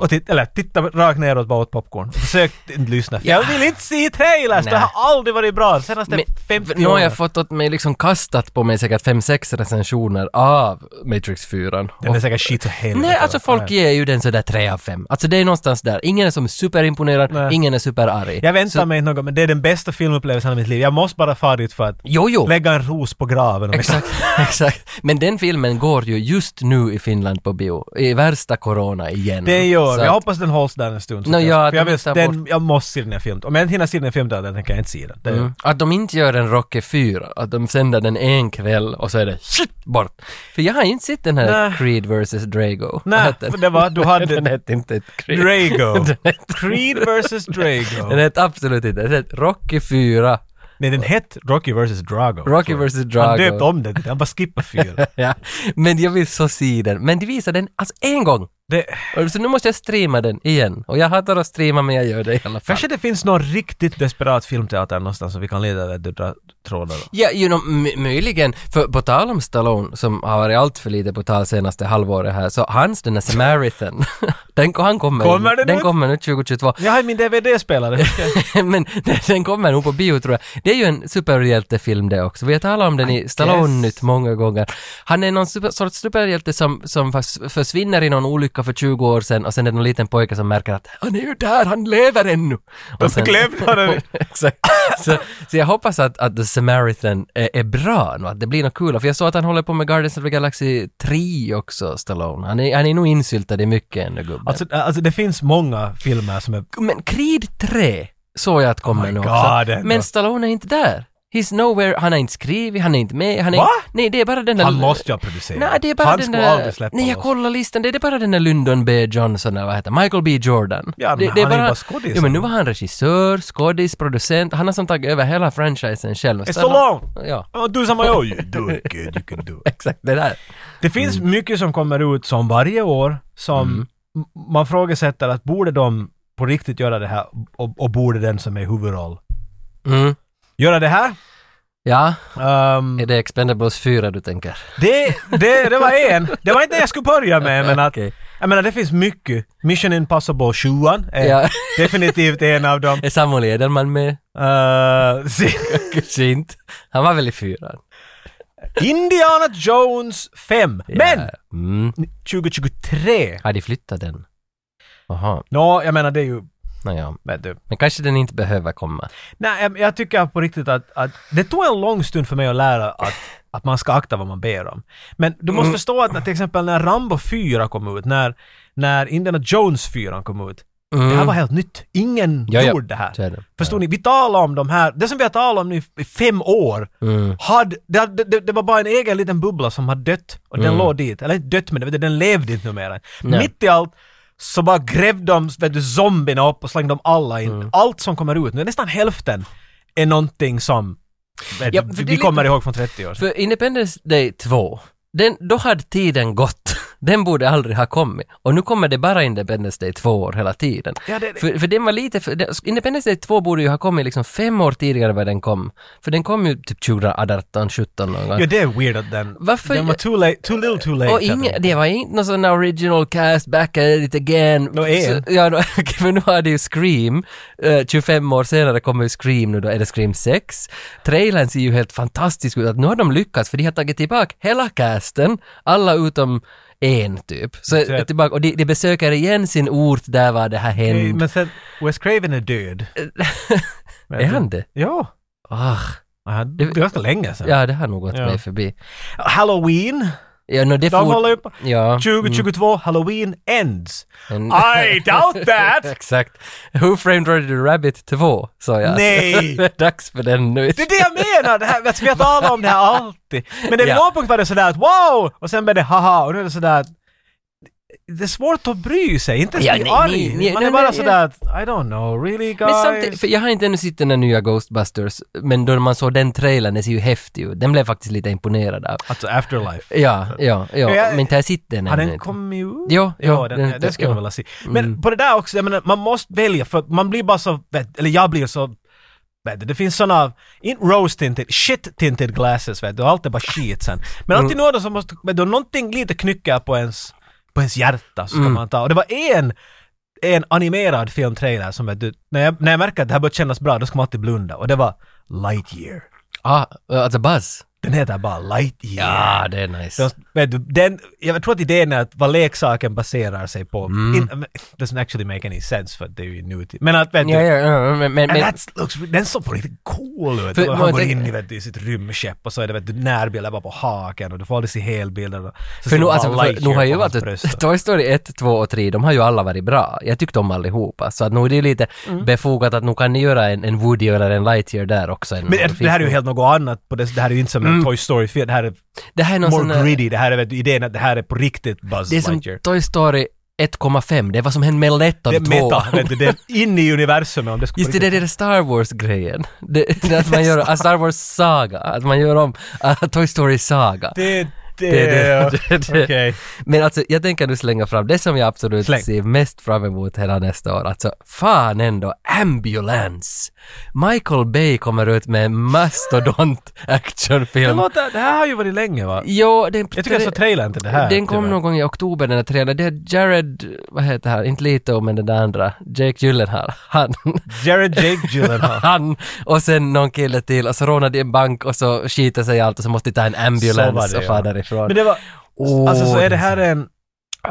och titt, eller titta rakt neråt bara åt popcorn. Försökte inte lyssna. För Ja. Jag vill inte se trailers! Det Nej. har aldrig varit bra. Senaste men, 50 nu har åren. jag fått åt mig liksom kastat på mig säkert fem, sex recensioner av Matrix 4. Den är säkert skit så helvete. Nej, alltså folk ger ju den sådär tre av fem. Alltså det är någonstans där. Ingen är som superimponerad, Nej. ingen är superarg. Jag väntar mig inte något, men det är den bästa filmupplevelsen av mitt liv. Jag måste bara fara dit för att Jo, jo. lägga en ros på graven. om jag- (laughs) (laughs) Exakt, exakt. Men den filmen går ju just nu i Finland på bio. I värsta corona igen. Det gör Mm. Så vi. Jag att- hoppas den hålls där en stund. så Nå, att ja, att för jag, de vill, tar den, jag måste se den här filmen. Om jag inte hinner se den här filmen då tänker jag inte se den. Det, Mm. Att de inte gör en Rocky 4, att de sänder den en kväll och så är det shit bort. För jag har inte sett den här Nej. Creed vs Drago. Vad Nej, hette (laughs) den? för det var, du Den hade hette inte ett Creed. Drago. (laughs) Den hette- Creed vs (laughs) Den Drago. hette absolut inte, den hette Rocky 4, Nej, den hette Rocky vs Drago. Rocky tror jag. vs Drago. Han döpte om den till det. Han bara skippade (laughs) fyra. ja. Men jag vill så se den. Men de visar den alltså en gång. Det, Och Så nu måste jag streama den igen. Och jag hatar att streama men jag gör det i alla fall. kanske det finns någon riktigt desperat filmteater någonstans som vi kan leda där du drar trådar. Ja, you know, m- möjligen. För på tal om Stallone, som har varit allt för lite på tal senaste halvåret här, så hans den här Samaritan, (laughs) den, han kommer, Kommer nu, den den ut? kommer nu 2022. Jag har (laughs) min DVD-spelare. Men den- den kommer nog på bio tror jag. Det är ju en superhjältefilm det också. Vi har talat om den i Stallone-nytt många gånger. Han är någon super, sorts superhjälte som, som förs- försvinner i någon olycka för 20 år sedan och sen är det någon liten pojke som märker att han är ju där, han lever ännu. Och sen- (laughs) Exakt. Så, så jag hoppas att, att The Samaritan är, är bra nu, att det blir något kul. För jag såg att han håller på med Guardians of the Galaxy 3 också, Stallone. Han är, han är nog insyltad i mycket ännu, gubben. Alltså, alltså det finns många filmer som är... men Creed 3, såg jag att kommer Oh my nu God, också. ändå. Men Stallone är inte där. He's nowhere, han är inte skrivit, han är inte med, han är Va? Nej, det är bara den där... Han måste ju ha producerat. Nej, det är bara han den skulle där... aldrig släppa Nej, jag loss. kollar listan, det är bara den där Lyndon B. Johnson, eller vad heter han? Michael B. Jordan. Ja, men det, det han är ju bara skådis. Jo, men nu var han regissör, skådis, producent, han har som tagit över hela franchisen själv. It's Stallone! Ja, Ja, Du som jag, you do it kid, you can do it. exakt det där. eh, Det finns Mm. mycket som kommer ut som varje år som m- man frågasätter att borde de på riktigt göra det här och, och borde den som är huvudroll Mm. göra det här? Ja, Ehm, är det Expendables 4 du tänker? det, det, det var en. Det var inte det jag skulle börja med men att Okej. jag menar det finns mycket. Mission Impossible 7 är Ja. (laughs) (laughs) definitivt en av dem. Är Samuel Edelman med? (laughs) Ehm, se- Kanske inte. Han var väl i fyran? (laughs) Indiana Jones 5. Men! Ja. Mm. 2023. Har de flyttat den? Jaha, Nå, jag menar det är ju... naja. Men du. Men kanske den inte behöver komma. Nej, jag, jag tycker på riktigt att, att det tog en lång stund för mig att lära att, att man ska akta vad man ber om. Men du Mm. måste förstå att när, till exempel när Rambo 4 kom ut, när, när Indiana Jones 4 kom ut, Mm. det här var helt nytt. Ingen Ja, ja. gjorde det här. Så är det. Förstår ni? Vi talar om de här, det som vi har talat om nu i fem år, Mm. hade, det, hade- det, det var bara en egen liten bubbla som hade dött och den låg dit. Eller inte dött men det, vet du, den levde inte numera. Nej. Mitt i allt så bara grävde de vet du, zombierna upp och slängde dem alla in. Allt som kommer ut nu, nästan hälften, är någonting som vet, Ja, du, för vi det är kommer lite- ihåg från 30 år sedan. För Independence Day 2, den, då hade tiden gått. (laughs) Den borde aldrig ha kommit. Och nu kommer det bara Independence Day 2 år hela tiden. Ja, det- det- För, för den var lite... För, det- Independence Day 2 borde ju ha kommit liksom fem år tidigare än vad den kom. För den kom ju typ 2018, 17 någon gång. Ja, det är weird att den, Varför- den var too, late, too little too late. Och heter inga, den. det var inte någon sån original cast, back at it again. Nå, en. Så- ja, då, (laughs) okej, men nu har det ju Scream. Eh, 25 år senare kommer ju Scream nu då, är det Scream 6? Trailern ser ju helt fantastisk ut, att nu har de lyckats för de har tagit tillbaka hela casten, alla utom en typ. Så, Exakt. är tillbaka, och de, de besöker igen sin ort där var det här Nej, hände. Men sen, Mm. Wes Craven är död. Vet (laughs) är du? han det? Ja. Ah, Ja, Det var ganska länge sedan. ja, det har nog gått Ja. mig förbi. Halloween, Ja, no, det de for- håller upp. Ja. 2022, Halloween ends. en- I (laughs) doubt that! Exakt. Who framed Roger the Rabbit 2, sa jag. Nej! (laughs) det är dags för den nu. Det är det jag menar! Det här, att vi har talat om det här alltid. Men det vid Ja. någon punkt var det sådär att wow! Och sen blev det haha och nu är det sådär att det är svårt att bry sig, inte ens Ja, bli nej, arg. nej, nej, Man är nej, bara nej, sådär att I don't know, really guys? Men samtidigt, för jag har inte ännu sett den här nya Ghostbusters, men då man såg den trailern, den ser ju häftig ut. Den blev jag faktiskt lite imponerad av. Alltså afterlife. Ja, ja, ja. Men jag- men inte har jag sett den Har ännu. den kommit ut? Jo, jo, ja, Mm. den, den- den, skulle ja. jag vilja se. Men på det där också, jag menar, man måste välja för att man blir bara så, vet, eller jag blir så, vet, du, det finns såna, inte rose tinted, shit tinted glasses vet du, allt är bara skit sen. Men alltid något som måste, vet du, någonting lite knycker på ens, på ens hjärta så ska man ta. Och det var en, en animerad filmtrailer som vet du, när jag, när jag märker att det här börjar kännas bra, då ska man alltid blunda. Och det var Lightyear. Ah, alltså Buzz. Den heter bara Lightyear. Ja, det är nice. De, vet du, den, jag tror att idén är att vad leksaken baserar sig på Mm. in, doesn't actually make any sense för att det är ju inuti. Men att vet Ja, ja, du, ja, men... men, And men that looks, den såg på riktigt cool ut. För- Och men Han går tänk- in i, vet du, i sitt rymdskepp och så är det vet du, närbilder bara på haken och du får aldrig se helbilden. och- Så för ser nu, man alltså, bara för, nu har Lightyear ju på hans varit (laughs) bröst. Toy Story 1, 2 och 3, de har ju alla varit bra. Jag tyckte om allihopa. Så att nu är det lite Mm. befogat att nu kan ni göra en, en Woody eller en Lightyear där också. En, Men det här är ju helt något annat. På det, det här är ju inte som en Toy Story 4. Det här är Det här är Mm. någon sån more här- gritty. Det här är vet du, idén att det här är på riktigt Buzz Det är som Lightyear. Toy Story 1,5, det är vad som hände med Letton Det är 2. meta, vet du, det är inne i universumet om det skulle Just det, det är den där Star Wars-grejen. Det, (laughs) det att man gör, att Star Wars-saga, att man gör om att Toy Story-saga. Det, det, Det- det- det- (laughs) det- Okej. Men alltså, jag tänker nu slänga fram det som jag absolut Släng. ser mest fram emot hela nästa år. Alltså, fan ändå, Ambulance! Michael Bay kommer ut med en mastodont Det, actionfilm. låter, det här har ju varit länge va? Jo, den... Jag tycker jag såg trailern till det här. Den kom tyvärr. någon gång i oktober den här trailern. Det är Jared, vad heter han, inte Leto men den där andra, Jake Gyllenhaal. (laughs) Han, Jared Jake Gyllenhaal. han och sen någon kille till och så rånar de en bank och så skiter sig allt och så måste de ta en Så var ambulans det, och fara ja. därifrån. (laughs) Oh. Men det var... Åh, alltså så är det den här en...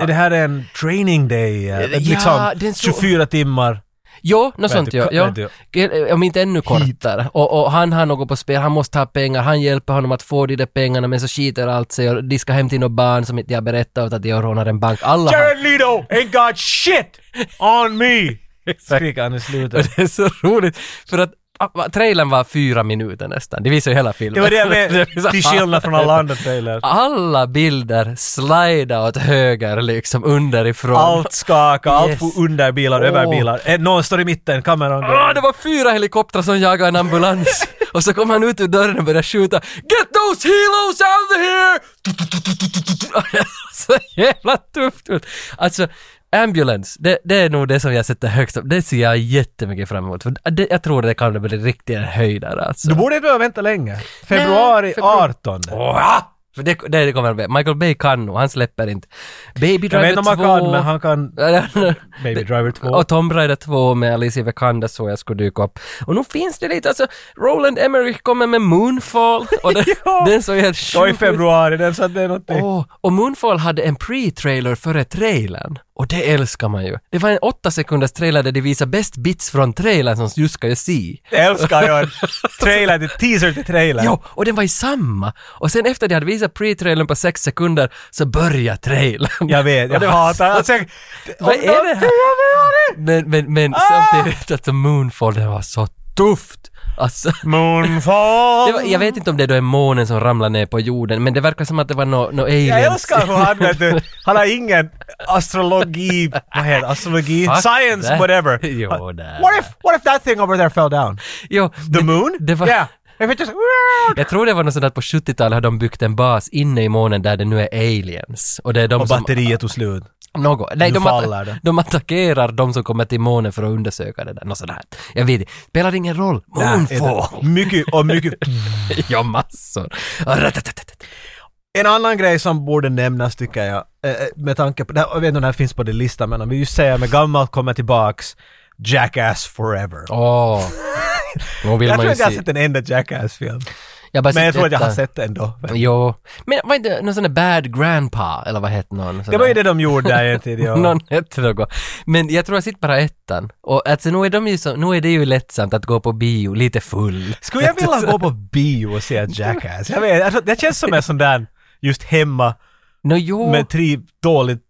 Är det här en training day? eh, Ja, liksom den så- 24 timmar. Jo, något sånt du, ja. vet ja. du. Eh, Om inte ännu kortare. Och, och han har något på spel, han måste ha pengar, han hjälper honom att få de där pengarna men så skiter allt sig och de ska hem till något barn som inte jag berättar åt att jag rånar en bank. Alla har- Jared Leto ain't got shit on me! skriker han i Och (laughs) slutet. det är så roligt, för att ah, va, trailern var fyra minuter nästan. Det visar ju hela filmen. (laughs) Det var det (laughs) jag menade, är så- till skillnad från alla andra trailers. Alla bilder slida åt höger liksom underifrån. Allt skakar, allt Yes. for under bilar, Åh. över bilar. Eh, Någon står i mitten, kameran Ah, går. det var fyra helikoptrar som jagade en (laughs) ambulans. och så kom han ut ur dörren och började skjuta. Get those helos out of here! (laughs) så jävla tufft ut. Alltså, ambulance, det, det är nog det som jag sätter högst upp. Det ser jag jättemycket fram emot. För det, jag tror det kan bli riktiga höjdare alltså. Du borde inte behöva vänta länge. Februari februari. 18. Åh, ah! För det, det kommer han med. Michael Bay kan nog, han släpper inte. Baby Jag Driver vet inte om han 2. kan, men han kan Baby Det- Driver 2. Och Tomb Raider 2 med Alicia Vikander så jag skulle dyka upp. Och nu finns det lite, alltså Roland Emmerich kommer med Moonfall och den, (laughs) Ja. den såg helt Och sjuk i ut. februari, den sa att det är någonting. Åh, och Moonfall hade en pre-trailer före trailern. Och det älskar man ju. Det var en åtta sekunders trailer där de visade bäst bits från trailern som du ska ju se. Det älskar jag. Trailer till teaser till trailer. Jo, och den var i samma! Och sen efter de hade visat pre-trailern på sex sekunder så börjar trailern. Jag vet, (laughs) jag Och det var hatar... Alltså, jag, Vad om är det här? Men, någonting, men, men Ah! samtidigt, alltså Moonfall, det var så tufft! Alltså, Moonfall! det var, jag vet inte om det då är månen som ramlar ner på jorden, men det verkar som att det var nå nå aliens. Jag älskar hur han vet du, han har ingen astrologi, vad heter det? astrologi, Fuck science, that. whatever. (laughs) Jo, Han- där. what if, what if that thing over there fell down? Jo, The det- moon? Det var, Yeah. If it just, Jag tror det var något sånt att på 70-talet hade de byggt en bas inne i månen där det nu är aliens. Och det är de och som... batteriet tog slut. Något. Nej, Nu de, faller det. att, de attackerar de som kommer till månen för att undersöka det där. Något sånt här. Jag vet inte. Spelar ingen roll. Nej, Moonfall! det- Mycket, och mycket. (laughs) ja, massor. Ratatatat. En annan grej som borde nämnas tycker jag, eh, eh, med tanke på, det här- jag vet inte om det här finns på din lista men om vi ju säger med gammalt kommer tillbaks, Jackass Forever. Åh. Nu vill jag man tror ju inte jag har se. sett en enda Jackass-film. Jag bara Men jag tror att jag har detta. sett den då. Jo. Men var inte någon sån där Bad Grandpa, eller vad hette någon? sån Det var ju där? det de gjorde där (laughs) en tid. ja. Någon hette något. Men jag tror jag sitter bara ettan. Och alltså nu är, de ju så, nu är det ju lättsamt att gå på bio lite full. Skulle jag vilja gå på bio och se Jackass? Jag vet, alltså, det känns som en sån där just hemma Nå jo. med tre dåligt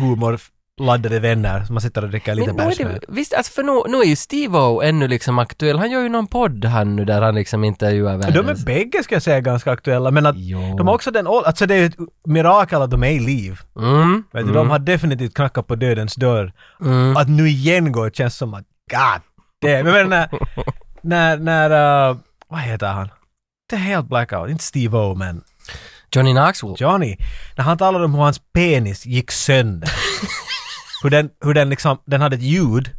humorladdade vänner som man sitter och dricker lite Men nu är bärs det, med. visst, alltså för nu, nu är ju Steve-O ännu liksom aktuell. Han gör ju någon podd han nu där han liksom intervjuar De är världens... bägge ska jag säga ganska aktuella men att Jo. de har också den åldern, alltså det är ju ett mirakel att de är i liv. Mm. Vet du, De har definitivt knackat på dödens dörr. Mm. Att nu igen går känns som att God damn. Jag menar när, när, när uh, vad heter han? Det är helt blackout, inte Steve-O men Johnny Knoxville. Johnny, när han talade om hur hans penis gick sönder. hur den, hur den liksom, den hade ett ljud.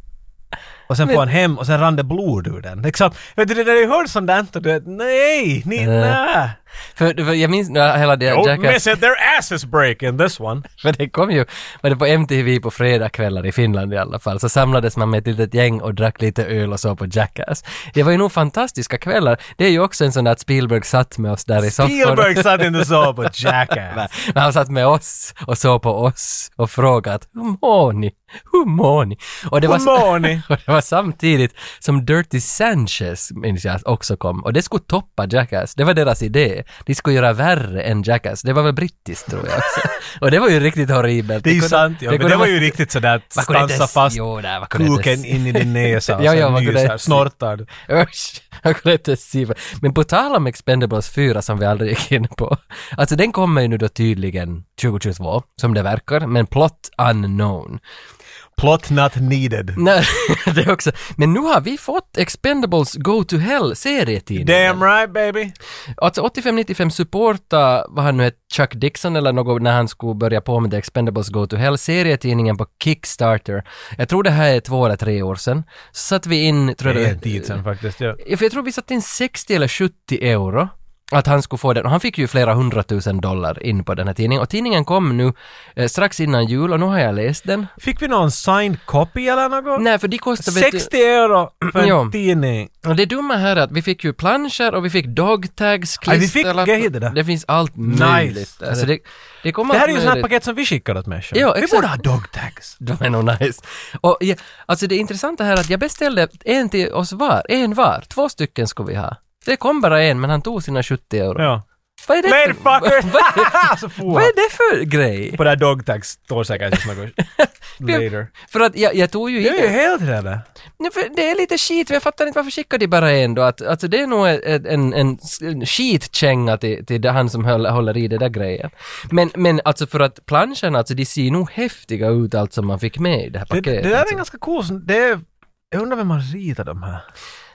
Och sen får han hem och sen rann det blod ur den. Liksom, vet du, när du hör sånt där och du vet, nej, ni, nej. För, för jag minns när hela det Jackass... it, their asses break in this one. För det kom ju, var det på MTV på fredagkvällar i Finland i alla fall, så samlades man med ett litet gäng och drack lite öl och så på Jackass. Det var ju nog fantastiska kvällar. Det är ju också en sån där att Spielberg satt med oss där i soffan. Spielberg satt inte så på Jackass. Men (laughs) han satt med oss och såg på oss och frågat hur mår ni? Hur mår ni? Och (laughs) det, var, Hur mår ni? (laughs) och det var samtidigt som Dirty Sanchez minns jag också kom och det skulle toppa Jackass. Det var deras idé. De skulle göra värre än Jackass. Det var väl brittiskt tror jag också. (laughs) Och det var ju riktigt horribelt. Det är ju kunde- sant, det ja, men kunde det var man- ju riktigt sådär att man kunde inte stansa ens- fast Jo, nej, man kunde inte kuken ens- in i din näsa och Ja, ja, sen man kunde nysar, inte- snortar du. (laughs) Usch, jag kunde inte ens se vad- Men på tal om Expendables 4 som vi aldrig gick in på. Alltså den kommer ju nu då tydligen 2022, som det verkar, men plot unknown. (laughs) Plot not needed. Nej, (laughs) det är också. Men nu har vi fått Expendables Go to Hell-serietidningen. Damn right baby. Alltså 85-95 supporta, vad han nu hette, Chuck Dixon eller något, när han skulle börja på med The Expendables Go to Hell, serietidningen på Kickstarter. Jag tror det här är två eller tre år sedan. Så satte vi in, tror Det jag är en tid sen faktiskt. Ja. Ja, för jag tror vi satte in 60 eller 70 euro att han skulle få den. Och han fick ju flera hundratusen dollar in på den här tidningen. Och tidningen kom nu eh, strax innan jul och nu har jag läst den. Fick vi någon signed copy eller något? Nej, för de kostar... vet du- 60 euro för en Ja. tidning. Och det dumma här är att vi fick ju planscher och vi fick dogtags, Ja, vi fick klisterlappar. grejer det där. Det finns allt möjligt. Alltså det, det kommer Det här är allt ju sådana här möjligt. paket som vi skickar åt människor. Ja, vi exakt. borde ha dog tags. (laughs) De är nog nice. Och ja, alltså det intressanta här är att jag beställde en till oss var, en var. Två stycken skulle vi ha. Det kom bara en, men han tog sina 70 euro. Ja. Vad är det för... Ladyfucker! (laughs) så for Vad han. är det för grej? På det här dogtags står säkert som (laughs) något later. För att jag, jag tog ju Det är ju in... helt rädd. Ja, för det är lite skit, men jag fattar inte varför skickar de bara en då? Att, alltså det är nog en, en, en, en skitkänga till, till det han som höll, håller i det där grejen. Men, men alltså för att planscherna, alltså de ser nog häftiga ut allt som man fick med i det här Det, paketet. det där är alltså. ganska coolt. Det är, jag undrar vem man ritar de här.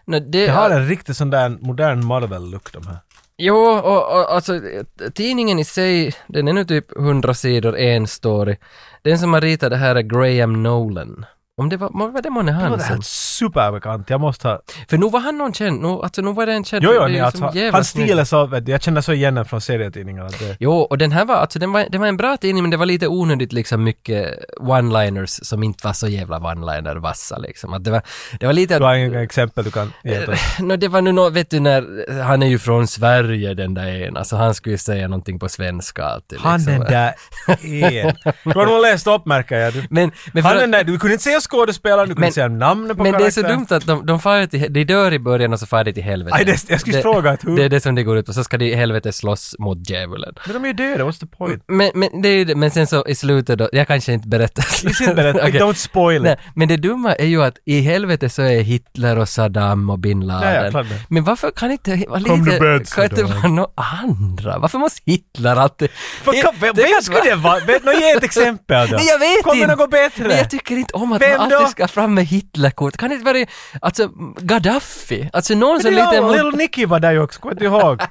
Nå, det, Det har en riktigt sån där modern Marvel-look de här. Jo, och, och alltså t- tidningen i sig, den är nu typ 100 sidor, en story. Den som har ritat det här är Graham Nolan. Om det var, må- var det månne Det var han det här som... superbekant. Jag måste ha... För nu var han någon känd, nu, alltså nu var det en känd... Jo, det jo, är nej, ju alltså, som jävla hans stil snygg. är så... vet du, Jag känner så igen den från serietidningarna. att Det, Jo, och den här var, alltså den var, den var en bra tidning men det var lite onödigt liksom mycket one-liners som inte var så jävla one-liner vassa liksom. Att det var, det var lite att du har inga exempel du kan (laughs) ge. åt oss. Nå, det var nu nå, vet du när, han är ju från Sverige den där en, alltså han skulle ju säga någonting på svenska alltid. Han liksom. den där är... Du har nog läst upp märker jag. Du, Men, men för han att- den där, du kunde inte säga skådespelaren, du kunde Men- inte säga namnet på Men det är så karaktären. dumt att de, de far ju till, de dör i början och så far de till helvete. Aj, det- jag skulle det, fråga att hur- Det är det som det går ut på, så ska de i helvete slåss mot djävulen. Men de är ju döda, what's the (laughs) point? Men, men, det är, ju det- men sen så i slutet då, jag kanske inte berättar. It's in better. (laughs) Okej. Don't spoil Nej, it. men det dumma är ju att i helvete så är Hitler och Saddam och bin Laden. Ja, ja, klart det. men varför kan inte vara Come lite, to bed, kan inte Saddam. vara några andra? Varför måste Hitler alltid... Vad kan- Vem vem skulle det vara? Vet- nå, Ge ett exempel då. (laughs) Nej, jag vet Kommer inte. något bättre? Men jag tycker inte om att Vem man alltid då? ska fram med Hitlerkort. Kan det inte vara alltså Gaddafi? Alltså någon som Men ja, lite... Alltså. mot- Little Nicky var där ju också, kommer (laughs) du ihåg?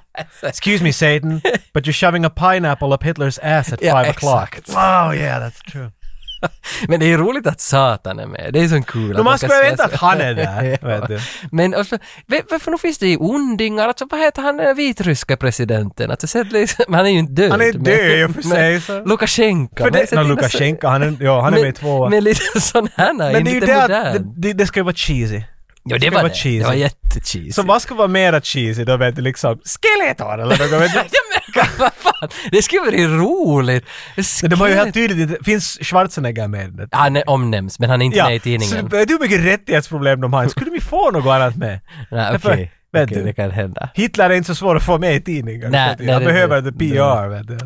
Excuse me Satan, but you're shoving a pineapple up Hitlers ass at Ja, five exakt. o'clock. Wow, yeah that's (laughs) true. Men det är ju roligt att Satan är med. Det är så kul. att Då man man kan skulle säga vänta så. att han (laughs) är där. vet du. Men alltså, v- varför nu finns det ju ondingar? Alltså vad heter han den vitryska presidenten? Alltså, så att liksom, (laughs) han är ju inte död. Han är men- död i och för men- sig, (laughs) så. Lukasjenko. För men det, så nå, det är Lukasjenko, han är, ja, han är men- med i tvåa. Men lite (laughs) sån här, Men det är ju lite det att det, modern. det, det ska ju vara cheesy. Ja, det ska var vara det. cheesy. Det var jättecheesy. Så vad ska vara mera cheesy då vet du liksom, Skeletor eller något vet du. (laughs) (laughs) Ja, men vad fan! Det skulle bli roligt! Men de har ju helt tydligt inte- finns Schwarzenegger med i det? Han är omnämns, men han är inte med i så tidningen. vet du hur mycket rättighetsproblem de har? Skulle de ju få något annat med? Nej, Därför- okej. vet Okej, du. Det kan hända. Hitler är inte så svår att få med i tidningar. Nej, Han nej, det- behöver inte det- PR, vet du.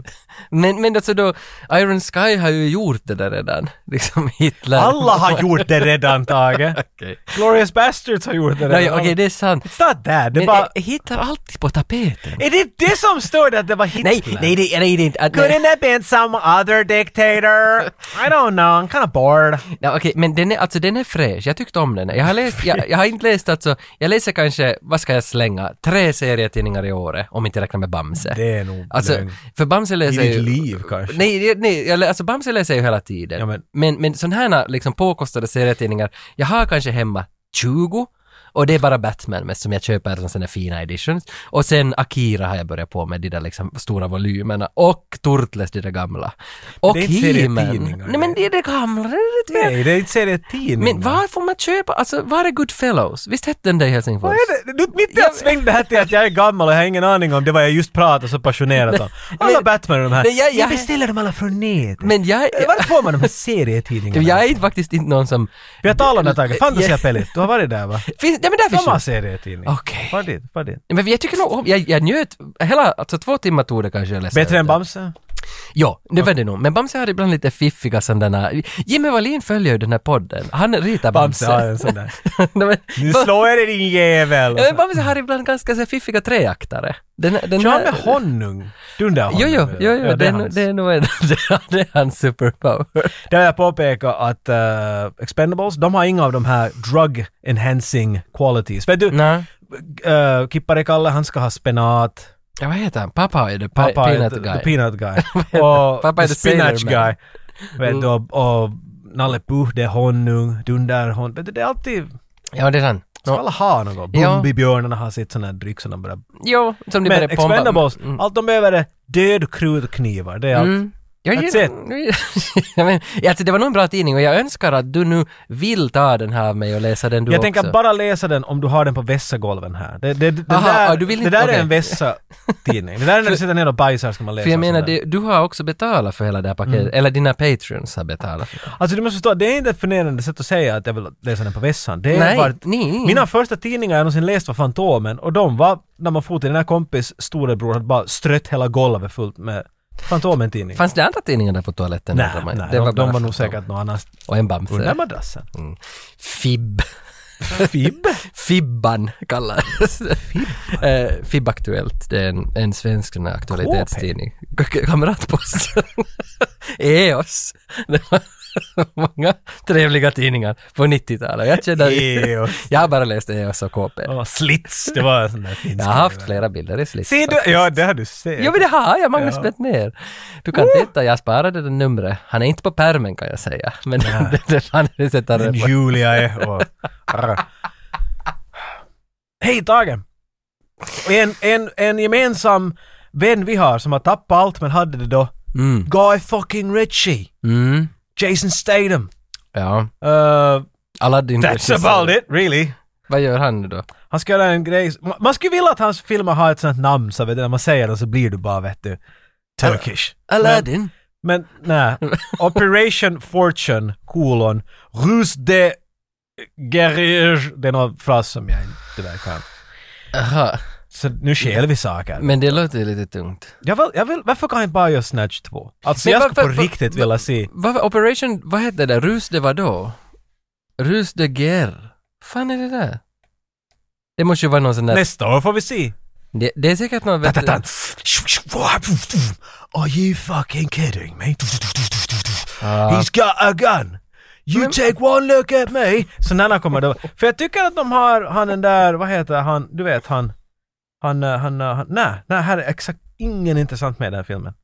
Men, men alltså då, Iron Sky har ju gjort det där redan. Liksom Hitler. Alla har gjort det redan, Tage. Okej. Glorious Bastards har gjort det redan. Nej, Okej, det är sant. It's not that. Det är Men bara... är Hitler alltid på tapeten? Är det det som står där att det var Hitler? Nej, nej, det, nej, det är inte... att- Nej. Couldn't have been some other dictator. I don't know, I'm kind of bored. Nej, okej, men den är, alltså, den är fräsch. Jag tyckte om den. Jag har, läst, jag, jag har inte läst alltså... Jag läser kanske, vad ska jag slänga, tre serietidningar i året, om inte jag räknar med Bamse. Det är nog Alltså, lögn. för Bamse I läser ditt ju... liv kanske. Nej, det- nej, jag lä- alltså Bamse läser jag ju hela tiden. Ja, men- men men sådana här liksom påkostade serietidningar, jag har kanske hemma 20 och det är bara Batman mest som jag köper som sådana fina editions. Och sen Akira har jag börjat på med de där liksom stora volymerna och Turtles, de där gamla. Och det är inte He-Man. serietidningar, Nej men det är det gamla, det är det Nej, det är inte serietidningar. Men var får man köpa, alltså var är Goodfellows? Visst hette den där i Helsingfors? Vad är det? Du, mitt i Jag- allt svängde det här till att jag är gammal och jag har ingen aning om det var jag just pratade så (laughs) passionerat om. Alla men- Batman och de här. men jag- jag- beställer dem alla från nätet. Men jag, Varför får man de här serietidningarna? jag är faktiskt inte någon som... Vi har talat om det här taget. Fantasia Jag- Pellit, du har varit där va? Finns, nej men där finns De ju- har serietidning. Okej. Far dit, far dit. Men jag tycker nog om, jag, jag njöt, hela, alltså två timmar tog det kanske att läsa. Bättre ut än det. Bamse? Ja, det var det nog. Men Bamse har ibland lite fiffiga sådana, Jimmy Wallin följer ju den här podden. Han ritar Bamse Bamse. har en (laughs) sån där. Nej, men, Nu Ba- slår jag dig din jävel! Ja, men Bamse har ibland ganska så här fiffiga treaktare. Den, den Kör här- med honung. Du undrar Jo, jo, honung, jo, eller? jo Ja, det, är, hans. nog- det är nog en, (laughs) det är hans superpower. Där vill jag påpeka att eh, Expendables, de har inga av de här drug enhancing qualities. Vet du, Nej. eh, Kippari-Kalle han ska ha spenat, Ja, vad heter han? Pappa är det, pa- pappa Peanut är the- Guy. the (laughs) (laughs) peanut guy. och Pappa är the the sailor spinach man. Mm. guy. Vet du, och, och Nalle Puh, det är honung, Dunder honung. Vet du, det är alltid, ja, det är sant. ska No, alla ha något? Ja. Bumbibjörnarna har sitt sån här dryck som de bara... jo, som de Men började pompa. Expendables, Mm. allt de behöver är död krutknivar. Det är allt. Mm. Jag, That's (laughs) jag men, alltså, det var nog en bra tidning och jag önskar att du nu vill ta den här av mig och läsa den du Jag också. tänker bara läsa den om du har den på vässagolven här. Det, det, det, Aha, där, ah, du vill inte- det där okej. är en vässa-tidning. Det där är när du sitter ner och bajsar ska man läsa. För jag en sån menar, där. Mm. det, du har också betalat för hela det här paketet, eller dina patreons har betalat för det. Alltså du måste förstå, det är inte ett förnedrande sätt att säga att jag vill läsa den på vässan. Det är Nej, Mm. bara- nej. Mina första tidningar jag någonsin läst var Fantomen och de var, när man for till den här kompis storebror, hade bara strött hela golvet fullt med Fantomen-tidningar. Fanns det andra tidningar där på toaletten? nej, undrar man? nej, det de, de bara var nog Fantomen. säkert någon annans Och en Bamse. under madrassen. Mm. Fib. (laughs) Fib? Fibban kallades (laughs) eh, Fib Aktuellt, det är en, en svensk sån här aktualitetstidning. K- Kamratposten. (laughs) EOS. Det var (laughs) många trevliga tidningar på 90-talet. Jag känner... EOS. Jag har bara läst EOS och KP. Ja, slits, det var en sån där finsk Jag har haft flera bilder i slitt. Ser du? Ja, det har du sett. Jo men det har jag, Magnus Ja. ja. ner. Du kan titta, jag sparade det numret. Han är inte på pärmen kan jag säga. Men (laughs) det, det fan det sätter Men det på. Julia är och... Arr. Hej Tage! En, en, en gemensam vän vi har som har tappat allt men hade det då. Mm. Guy fucking Ritchie! Mm. Jason Statham! Ja. Uh, Aladdin. that's about it, really! Vad gör han nu då? Han ska göra en grej... ma- Man skulle vilja att hans filmer har ett sånt namn så vet du, när man säger det så blir du bara vet du... Turkish. Aladdin. Men (laughs) nej. Operation Fortune, kolon, Rus de Guerrier. Det är någon fras som jag inte väl kan. Aha. Så nu skäl vi saker. Men det låter ju lite tungt. Jag vill, jag vill, varför kan jag inte bara göra Snatch 2? Alltså Men jag varför- skulle på varför- riktigt vilja se. Vad var Operation, vad hette det? Rus det var då? Rus de guerre. fan är det där? Det måste ju vara någon sån där... Nästa år får vi se. Det, det är säkert någon... vet du- Ta-ta-tan. Are you fucking kidding me? Ja. He's got a gun. You Men- take one look at me. Sådana kommer det För jag tycker att de har, han den där, vad heter han, du vet han, han, eh, han, eh, han nej, nej, här är exakt ingen intressant med i den här filmen.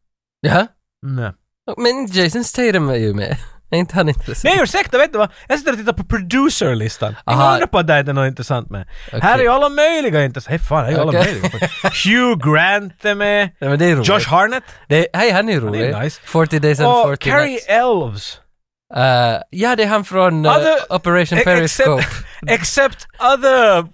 Ja? Nej. Men Jason Statham är ju med. (laughs) Är inte han intressant? Nej ursäkta, vet du vad? Jag sitter och tittar på producerlistan. Ingen Aha. undrar på att det inte är något intressant med. Okej. Här är ju alla möjliga intressanta. Hej fan, här är ju alla Okej. möjliga. Hugh Grant (laughs) är med. Nej, men det är roligt. Josh Harnett. Det, hej, han är ju rolig. nice. 40 Days and Och 40 Carrie Nights. Elves. Eh, ja, det är han från eh, Other- Operation E- (laughs) Periscope. except other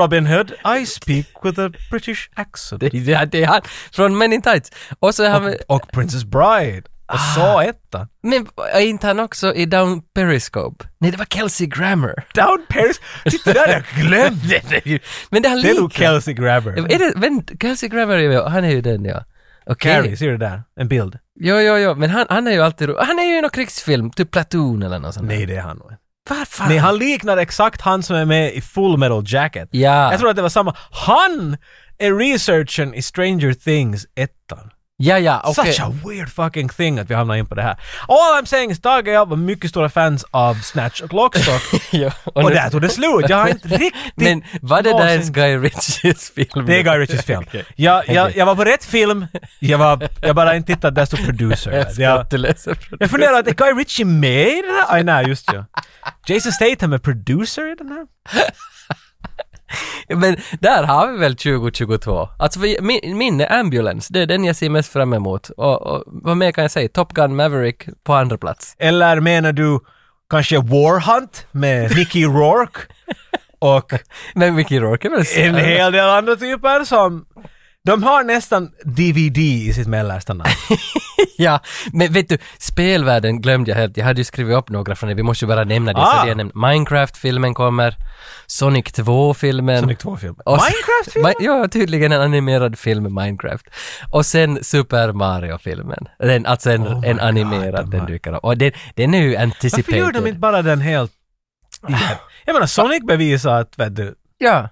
Robin Hood, I speak with a British accent. Um, Det, är- det, är- det är han från Men in Tights. Och så är han... med- Och, och Princess Bride. Och så ettan. Men är inte han också i Down Periscope? Nej, det var Kelsey Grammer. Down Paris. Titta där, jag glömde! (laughs) Det är ju- men det är han Det är nog lik. Kelsey Grabber. Är det, vänt, Kelsey Grammer är ju, han är ju den ja. Okej. Carrie, ser du där? En bild. Jo, jo, jo, men han, han är ju alltid ro- Han är ju i någon krigsfilm, typ Platoon eller något sånt där. Nej, det är han nog inte. Vad fan? Nej, han liknar exakt han som är med i Full Metal Jacket. Ja. Jag tror att det var samma. Han är researchen i Stranger Things ettan. Ja, ja, okej. (laughs) Such a weird fucking thing att vi hamnar in på det här. All I'm saying is Tage och jag var mycket stora fans av Snatch och Lockstock. Jo, och nu- där tog det slut. Jag har inte riktigt (laughs) Men var det där någonsin- ens Guy Ritchies film? Det är Guy (laughs) Ritchies film. Jag, jag, jag var på rätt film, jag, var, jag bara inte tittade, där stod (laughs) producer. Jag ska Jag, inte (laughs) läsa jag funderar, är Guy Ritchie med i den här? Aj, nej, just ja. Jason Statham är producer i den här? Men där har vi väl 2022. Alltså för min, min är Ambulance, det är den jag ser mest fram emot. Och, och vad mer kan jag säga? Top Gun Maverick på andra plats. (laughs) Eller menar du kanske War Hunt med Mickey Rourke? Och Men Mickey Rourke är väl så- en hel del andra typer som... De har nästan DVD i sitt mellersta namn. Ja, men vet du, spelvärlden glömde jag helt. Jag hade ju skrivit upp några från det, vi måste ju bara nämna det. Ah. Så det jag nämnde. Minecraft-filmen kommer, Sonic 2-filmen. Sonic 2-filmen. Och- Minecraft-filmen? Ma- Ja, tydligen en animerad film med Minecraft. Och sen Super Mario-filmen. Den, alltså en, Oh my en God, animerad, de den har- dyker upp. Och den, den är ju anticipated. Varför gör de inte bara den helt... Jag menar, Sonic bevisar att, vet du, Ja.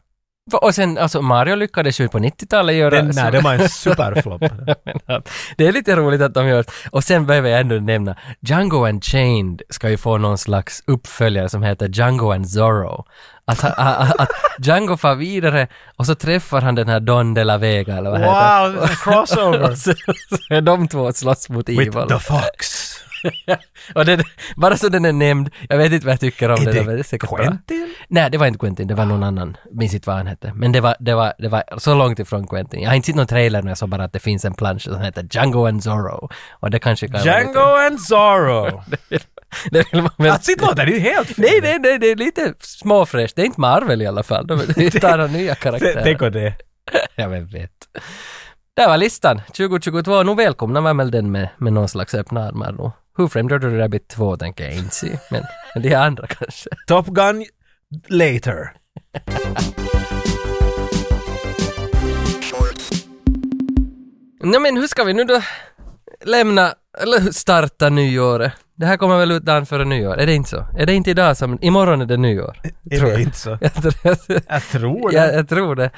Va- Och sen, alltså Mario lyckades ju på 90-talet göra... den, (laughs) nej, det var en superflopp. Men att- det är lite roligt att de gör Och sen behöver jag ändå nämna, Django Unchained ska ju få någon slags uppföljare som heter Django and Zorro. Att, ha- ha- att Django far vidare och så träffar han den här Don de la Vega eller vad heter han? Wow, crossover! Och så, så är de två och slåss mot With (laughs) Evil. the fox. och den, bara så den är nämnd, jag vet inte vad jag tycker om Är den, det men det är säkert bra. Quentin? Nej, det var inte Quentin, det var någon annan. Minns inte vad han hette. Men det var, det, var, det var så långt ifrån Quentin. Jag har inte sett någon trailer nu, jag såg bara att det finns en plansch som heter Django and Zorro. Och det kanske kan vara Django and Zorro. lite- (laughs) Det vill man väl... Alltså inte låter det ju helt fel. Nej, nej, nej, det är lite småfräscht. Det är inte Marvel i alla fall. (laughs) De tar några nya karaktärer. Tänk på det. Ja, vem vet. Där var listan. 2022. Nu välkomnar man väl den med, med någon slags öppna armar då. Who Framed Roger Rabbit 2 tänker jag inte se, men, men det är andra kanske. Top Gun later. Nej men hur ska vi nu då lämna, eller hur starta nyåret? Det här kommer väl ut dagen före nyår, är det inte så? Är det inte idag som, imorgon är det nyår? Är Tror det jag. (laughs) inte så? Jag tror- Jag tror jag, det. jag tror det.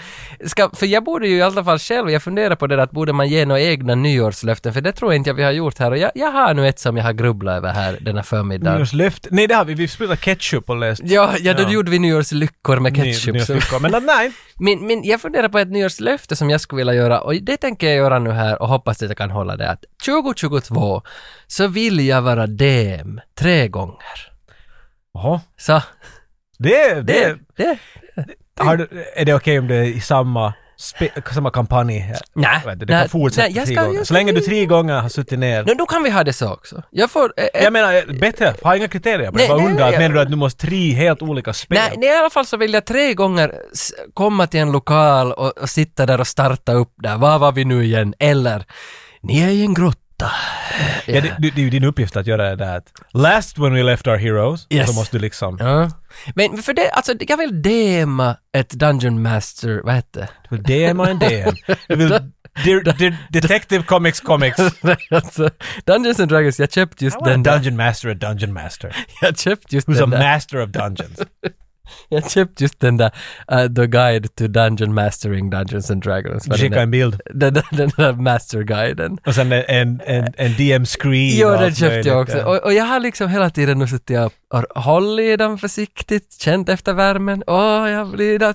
Ska, för jag borde ju i alla fall själv, jag funderar på det där att borde man ge några egna nyårslöften, för det tror jag inte jag vi har gjort här. Och jag, jag har nu ett som jag har grubblat över här denna förmiddag. Nyårslöfte. Nej det har vi, vi sprutade ketchup och läste Ja, ja, då Ja. gjorde vi nyårslyckor med ketchup. Ny- så. nyårslyckor. Men att (laughs) nej, Men, men jag funderar på ett nyårslöfte som jag skulle vilja göra och det tänker jag göra nu här och hoppas att jag kan hålla det att 2022 så vill jag vara DM tre gånger. Jaha. Så, Det, det, det, det. har du, är det okej om det är i samma, spe, samma kampanj? Nej, Vet du, det nej, kan fortsätta nej, jag tre ska- gånger. jag Så ska- länge du tre gånger har suttit ner. Nu, då kan vi ha det så också. Jag får... eh, eh, Jag menar, eh, bättre. Har inga kriterier på det. Nej, Bara nej, undrar, jag- menar du att du måste tre helt olika spel? Nej, nej, i alla fall så vill jag tre gånger s- komma till en lokal och, och sitta där och starta upp där. Var var vi nu igen? Eller, ni är i en grotta. Ja, det, det, det är ju din uppgift att göra det där att Last when we left our heroes. Yes. Så måste du liksom... Ja. Men för det, alltså jag vill DMa ett Dungeon Master, vad hette (laughs) det? Du vill DM och en DM. Du vill... (laughs) De, de, detective Comics Comics. Nej, alltså, Dungeons and Dragons, jag köpte just den där. Dungeon Master, a Dungeon Master. Jag köpte just Who's a den där. master of dungeons. Jag köpte just den där uh, The Guide to Dungeon Mastering Dungeons and Dragons. vad den Skicka där- en bild. Den, där- den där masterguiden. Och sen en, en, en, en DM-screen. Jo, och den allt köpte jag möjligt, också. ja. Och, och jag har liksom hela tiden nu suttit och, och hållit i den försiktigt, känt efter värmen. Åh, jag blir där.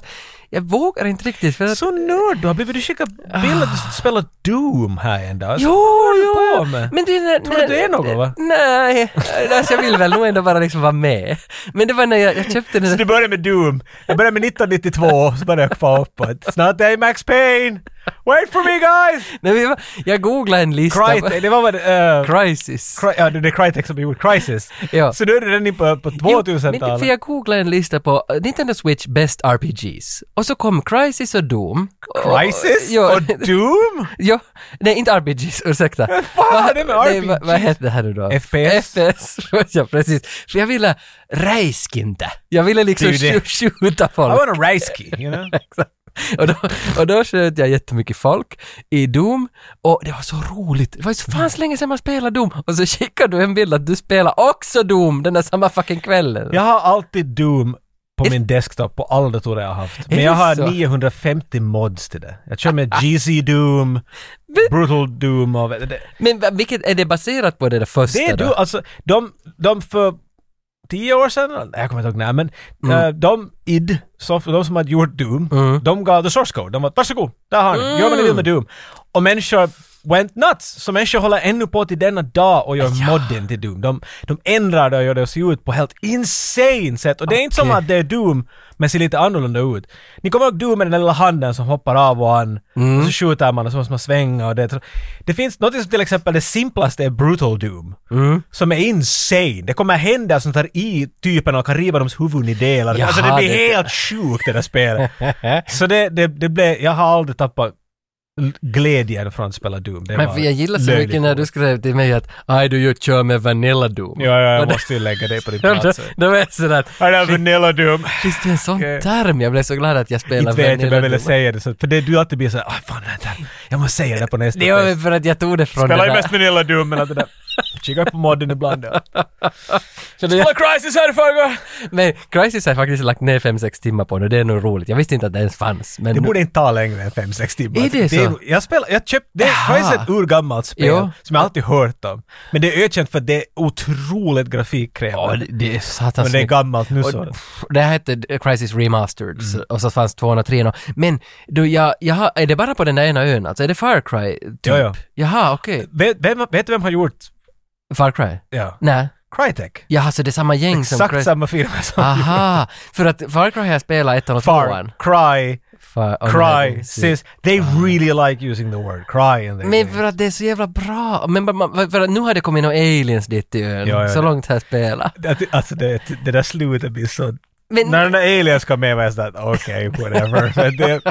Jag vågar inte riktigt för att... Så nörd du har blivit. Du skickar bilder att du spelar Doom här en dag. Jo, du jo! på med? Men det, när, Tror du att det är något, va? Nej, alltså jag vill väl nog ändå bara liksom vara med. Men det var när jag, jag köpte den Så där... du börjar med Doom. Jag började med 1992, så började jag kvar uppåt. Snart är jag i Max Payne! Wait for me (laughs) guys! Nej, men jag- jag googlade en lista. Crytek, det var vad det... eh, Crisis. Cry- Ja, det är Crytek som gjorde Crisis. Ja. Så nu är du redan inne på, på Jo, men För 2000-talet. jag googlade en lista på eh, Nintendo Switch Best RPGs. Och så kom Crisis och Doom. Och- Crisis? Jo, Och (laughs) Doom? jo, nej inte RPGs, ursäkta. Vad fan är det med nej, vad- Vad RPGs? hette det här nu då? FPS? FPS, (laughs) ja precis. För jag ville räiskinte. Jag ville liksom Det är ju det. skj- skjuta I folk. want a Reisky, you know? och, då, och då sköt jag jättemycket folk i Doom och det var så roligt. Det var så fan Mm. så länge sedan man spelade Doom. Och så skickade du en bild att du spelar också Doom den där samma fucking kvällen. Jag har alltid Doom på min desktop på alla datorer jag har haft. Men det jag har så? 950 mods till det. Jag kör med GC (laughs) Doom, Brutal Doom och... Det, Men va- vilket, är det baserat på det där första det är då? du, alltså de, de för tio år sedan, eller, jag kommer inte ihåg när, men eh, de id, soft, de som hade gjort Doom, Mm. de gav the source code. De var varsågod, där har ni, gör vad ni vill med Doom. Och människor went nuts! Så människor håller ännu på till denna dag och gör modden till Doom. De, de ändrar det och gör det att se ut på helt insane sätt. Och det är inte som Okej. att det är Doom, men ser lite annorlunda ut. Ni kommer ihåg Doom med den där lilla handen som hoppar av och an. Mm. Och så skjuter man och så måste man svänga och det. Det finns något som till exempel det simplaste är Brutal Doom. Mm. Som är insane. Det kommer hända sånt här i typen och kan riva deras huvuden i delar. alltså det Jaha, blir det- helt sjukt det (laughs) där spelet. Så det, det, det blev, jag har aldrig tappat l- glädjen från att spela Doom. Det Men var för jag gillar så löjligt mycket när du roligt. skrev till mig att ”Aj du, ju kör med Vanilla Doom”. Ja, ja, Och jag då- måste ju lägga dig (laughs) på din då, plats. då var jag sådär att Ja, det är alltså Vanilla Doom. ”Finns det en sån Okej. term?” Jag blev så glad att jag Inte spelar vet jag, men Vanilla jag ville Doom. säga det. Så, för det du alltid blir såhär, ah fan vänta. Jag måste säga det på nästa Det var fest. väl för att jag tog det från Spelar det ju där. mest Vanilla Doom, men att det där... Kika på modden ibland. ja. Så det- Spela Crisis här i förrgår! Men Crisis har jag faktiskt lagt ner 5-6 timmar på nu, det är nog roligt. Jag visste inte att det ens fanns. Men Det borde inte ta längre än 5-6 timmar. Är det så? jag spelar, jag köpt, det Jaha. är Crisis är ett urgammalt spel Jo. som jag alltid hört om. Men det är ökänt för att det är otroligt grafikkrävande. Ja, det, det är satans men det är mycket. gammalt nu så. Mm. Och, typ- pff, det här hette Crisis Remastered så- och så fanns tvåan och trean. och- Men du, jag, jag har, är det bara på den där ena ön alltså? Är det Far Cry? Typ? Ja, ja. Jaha, okej. Vet, vem, vet du vem har gjort Far Cry? Ja. Nej. Crytek. Jaha, så det är samma gäng som... Exakt Cry- Ah, samma firma som Aha! För att Far Cry har jag spelat ettan och Far, tvåan. Cry, Far- och Cry, Oh, nej, Sis. They Ah. really like using the word cry in their Men games. för att det är så jävla bra. Men man- man- för att nu har det kommit några aliens dit till ön. Ja, ja, så ja. långt har jag spelat. Att- Alltså det, det där slutet blir så... Men, När de där aliens kom med var jag sådär okej, (laughs) whatever. Men det,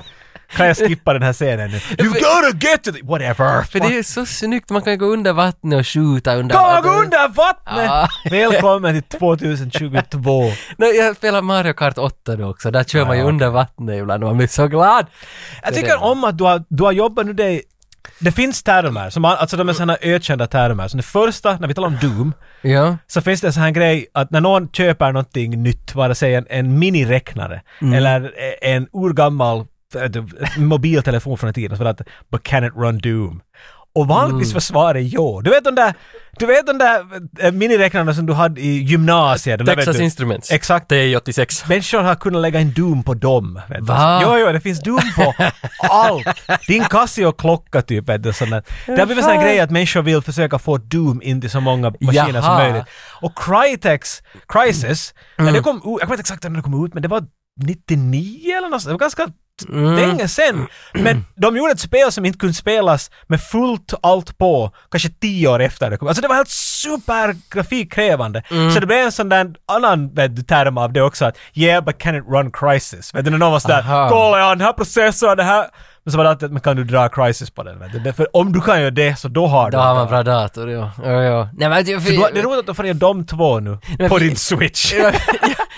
kan jag skippa den här scenen nu? You gotta get to the... Whatever! för det är ju så snyggt. Man kan gå under vattnet och skjuta under Kom under vattnet! Ja. Välkommen till 2022! Nej, jag spelar Mario Kart 8 nu också. Där kör man ju okej. under vattnet ibland och man blir så glad. (laughs) Jag Det är tycker det. om att du har, du har jobbat nu dig... Det finns termer, som, alltså de är sådana ökända termer. Så det första, när vi talar om Doom, Ja. så finns det en sån här grej att när någon köper någonting nytt, vare sig en, en miniräknare eller en urgammal äh, du, mobiltelefon från den tiden, så var det att “But can it run Doom?” Och vanligtvis var svaret ja. Du vet de där, du vet de där äh, miniräknarna som du hade i gymnasiet? de där, vet Texas du. Instruments. Exakt. TI-86. Människor har kunnat lägga en Doom på dem. Vet Alltså. du. Va? Jo, jo, det finns Doom på allt. Din Casio-klocka typ. Vet du, sån där. Det har blivit en sån här grej att människor vill försöka få Doom in till så många maskiner som Jaha. Mm. möjligt. Och Crytex, Crisis, när det kom, ut- jag kommer inte exakt när det kom ut, men det var 99 eller något sånt. Det var ganska Mm. länge sen. Men de gjorde ett spel som inte kunde spelas med fullt allt på, kanske tio år efter det kom. Alltså det var helt supergrafikkrävande. Mm. Så det blev en sån där annan vet du, term av det också att “Yeah, but can it run Crisis?” Vet du, när någon var sådär Aha. “Kolla, jag har den här processorn, det här...” Men så var det alltid att “Men kan du dra Crisis på den?” vet du? Det- För om du kan göra det, så då har du Då har den. man bra dator, ja. ja, ja. Nej, men, jag, Du har- Det är roligt att du får in de två nu, Men på vi- din switch. ja,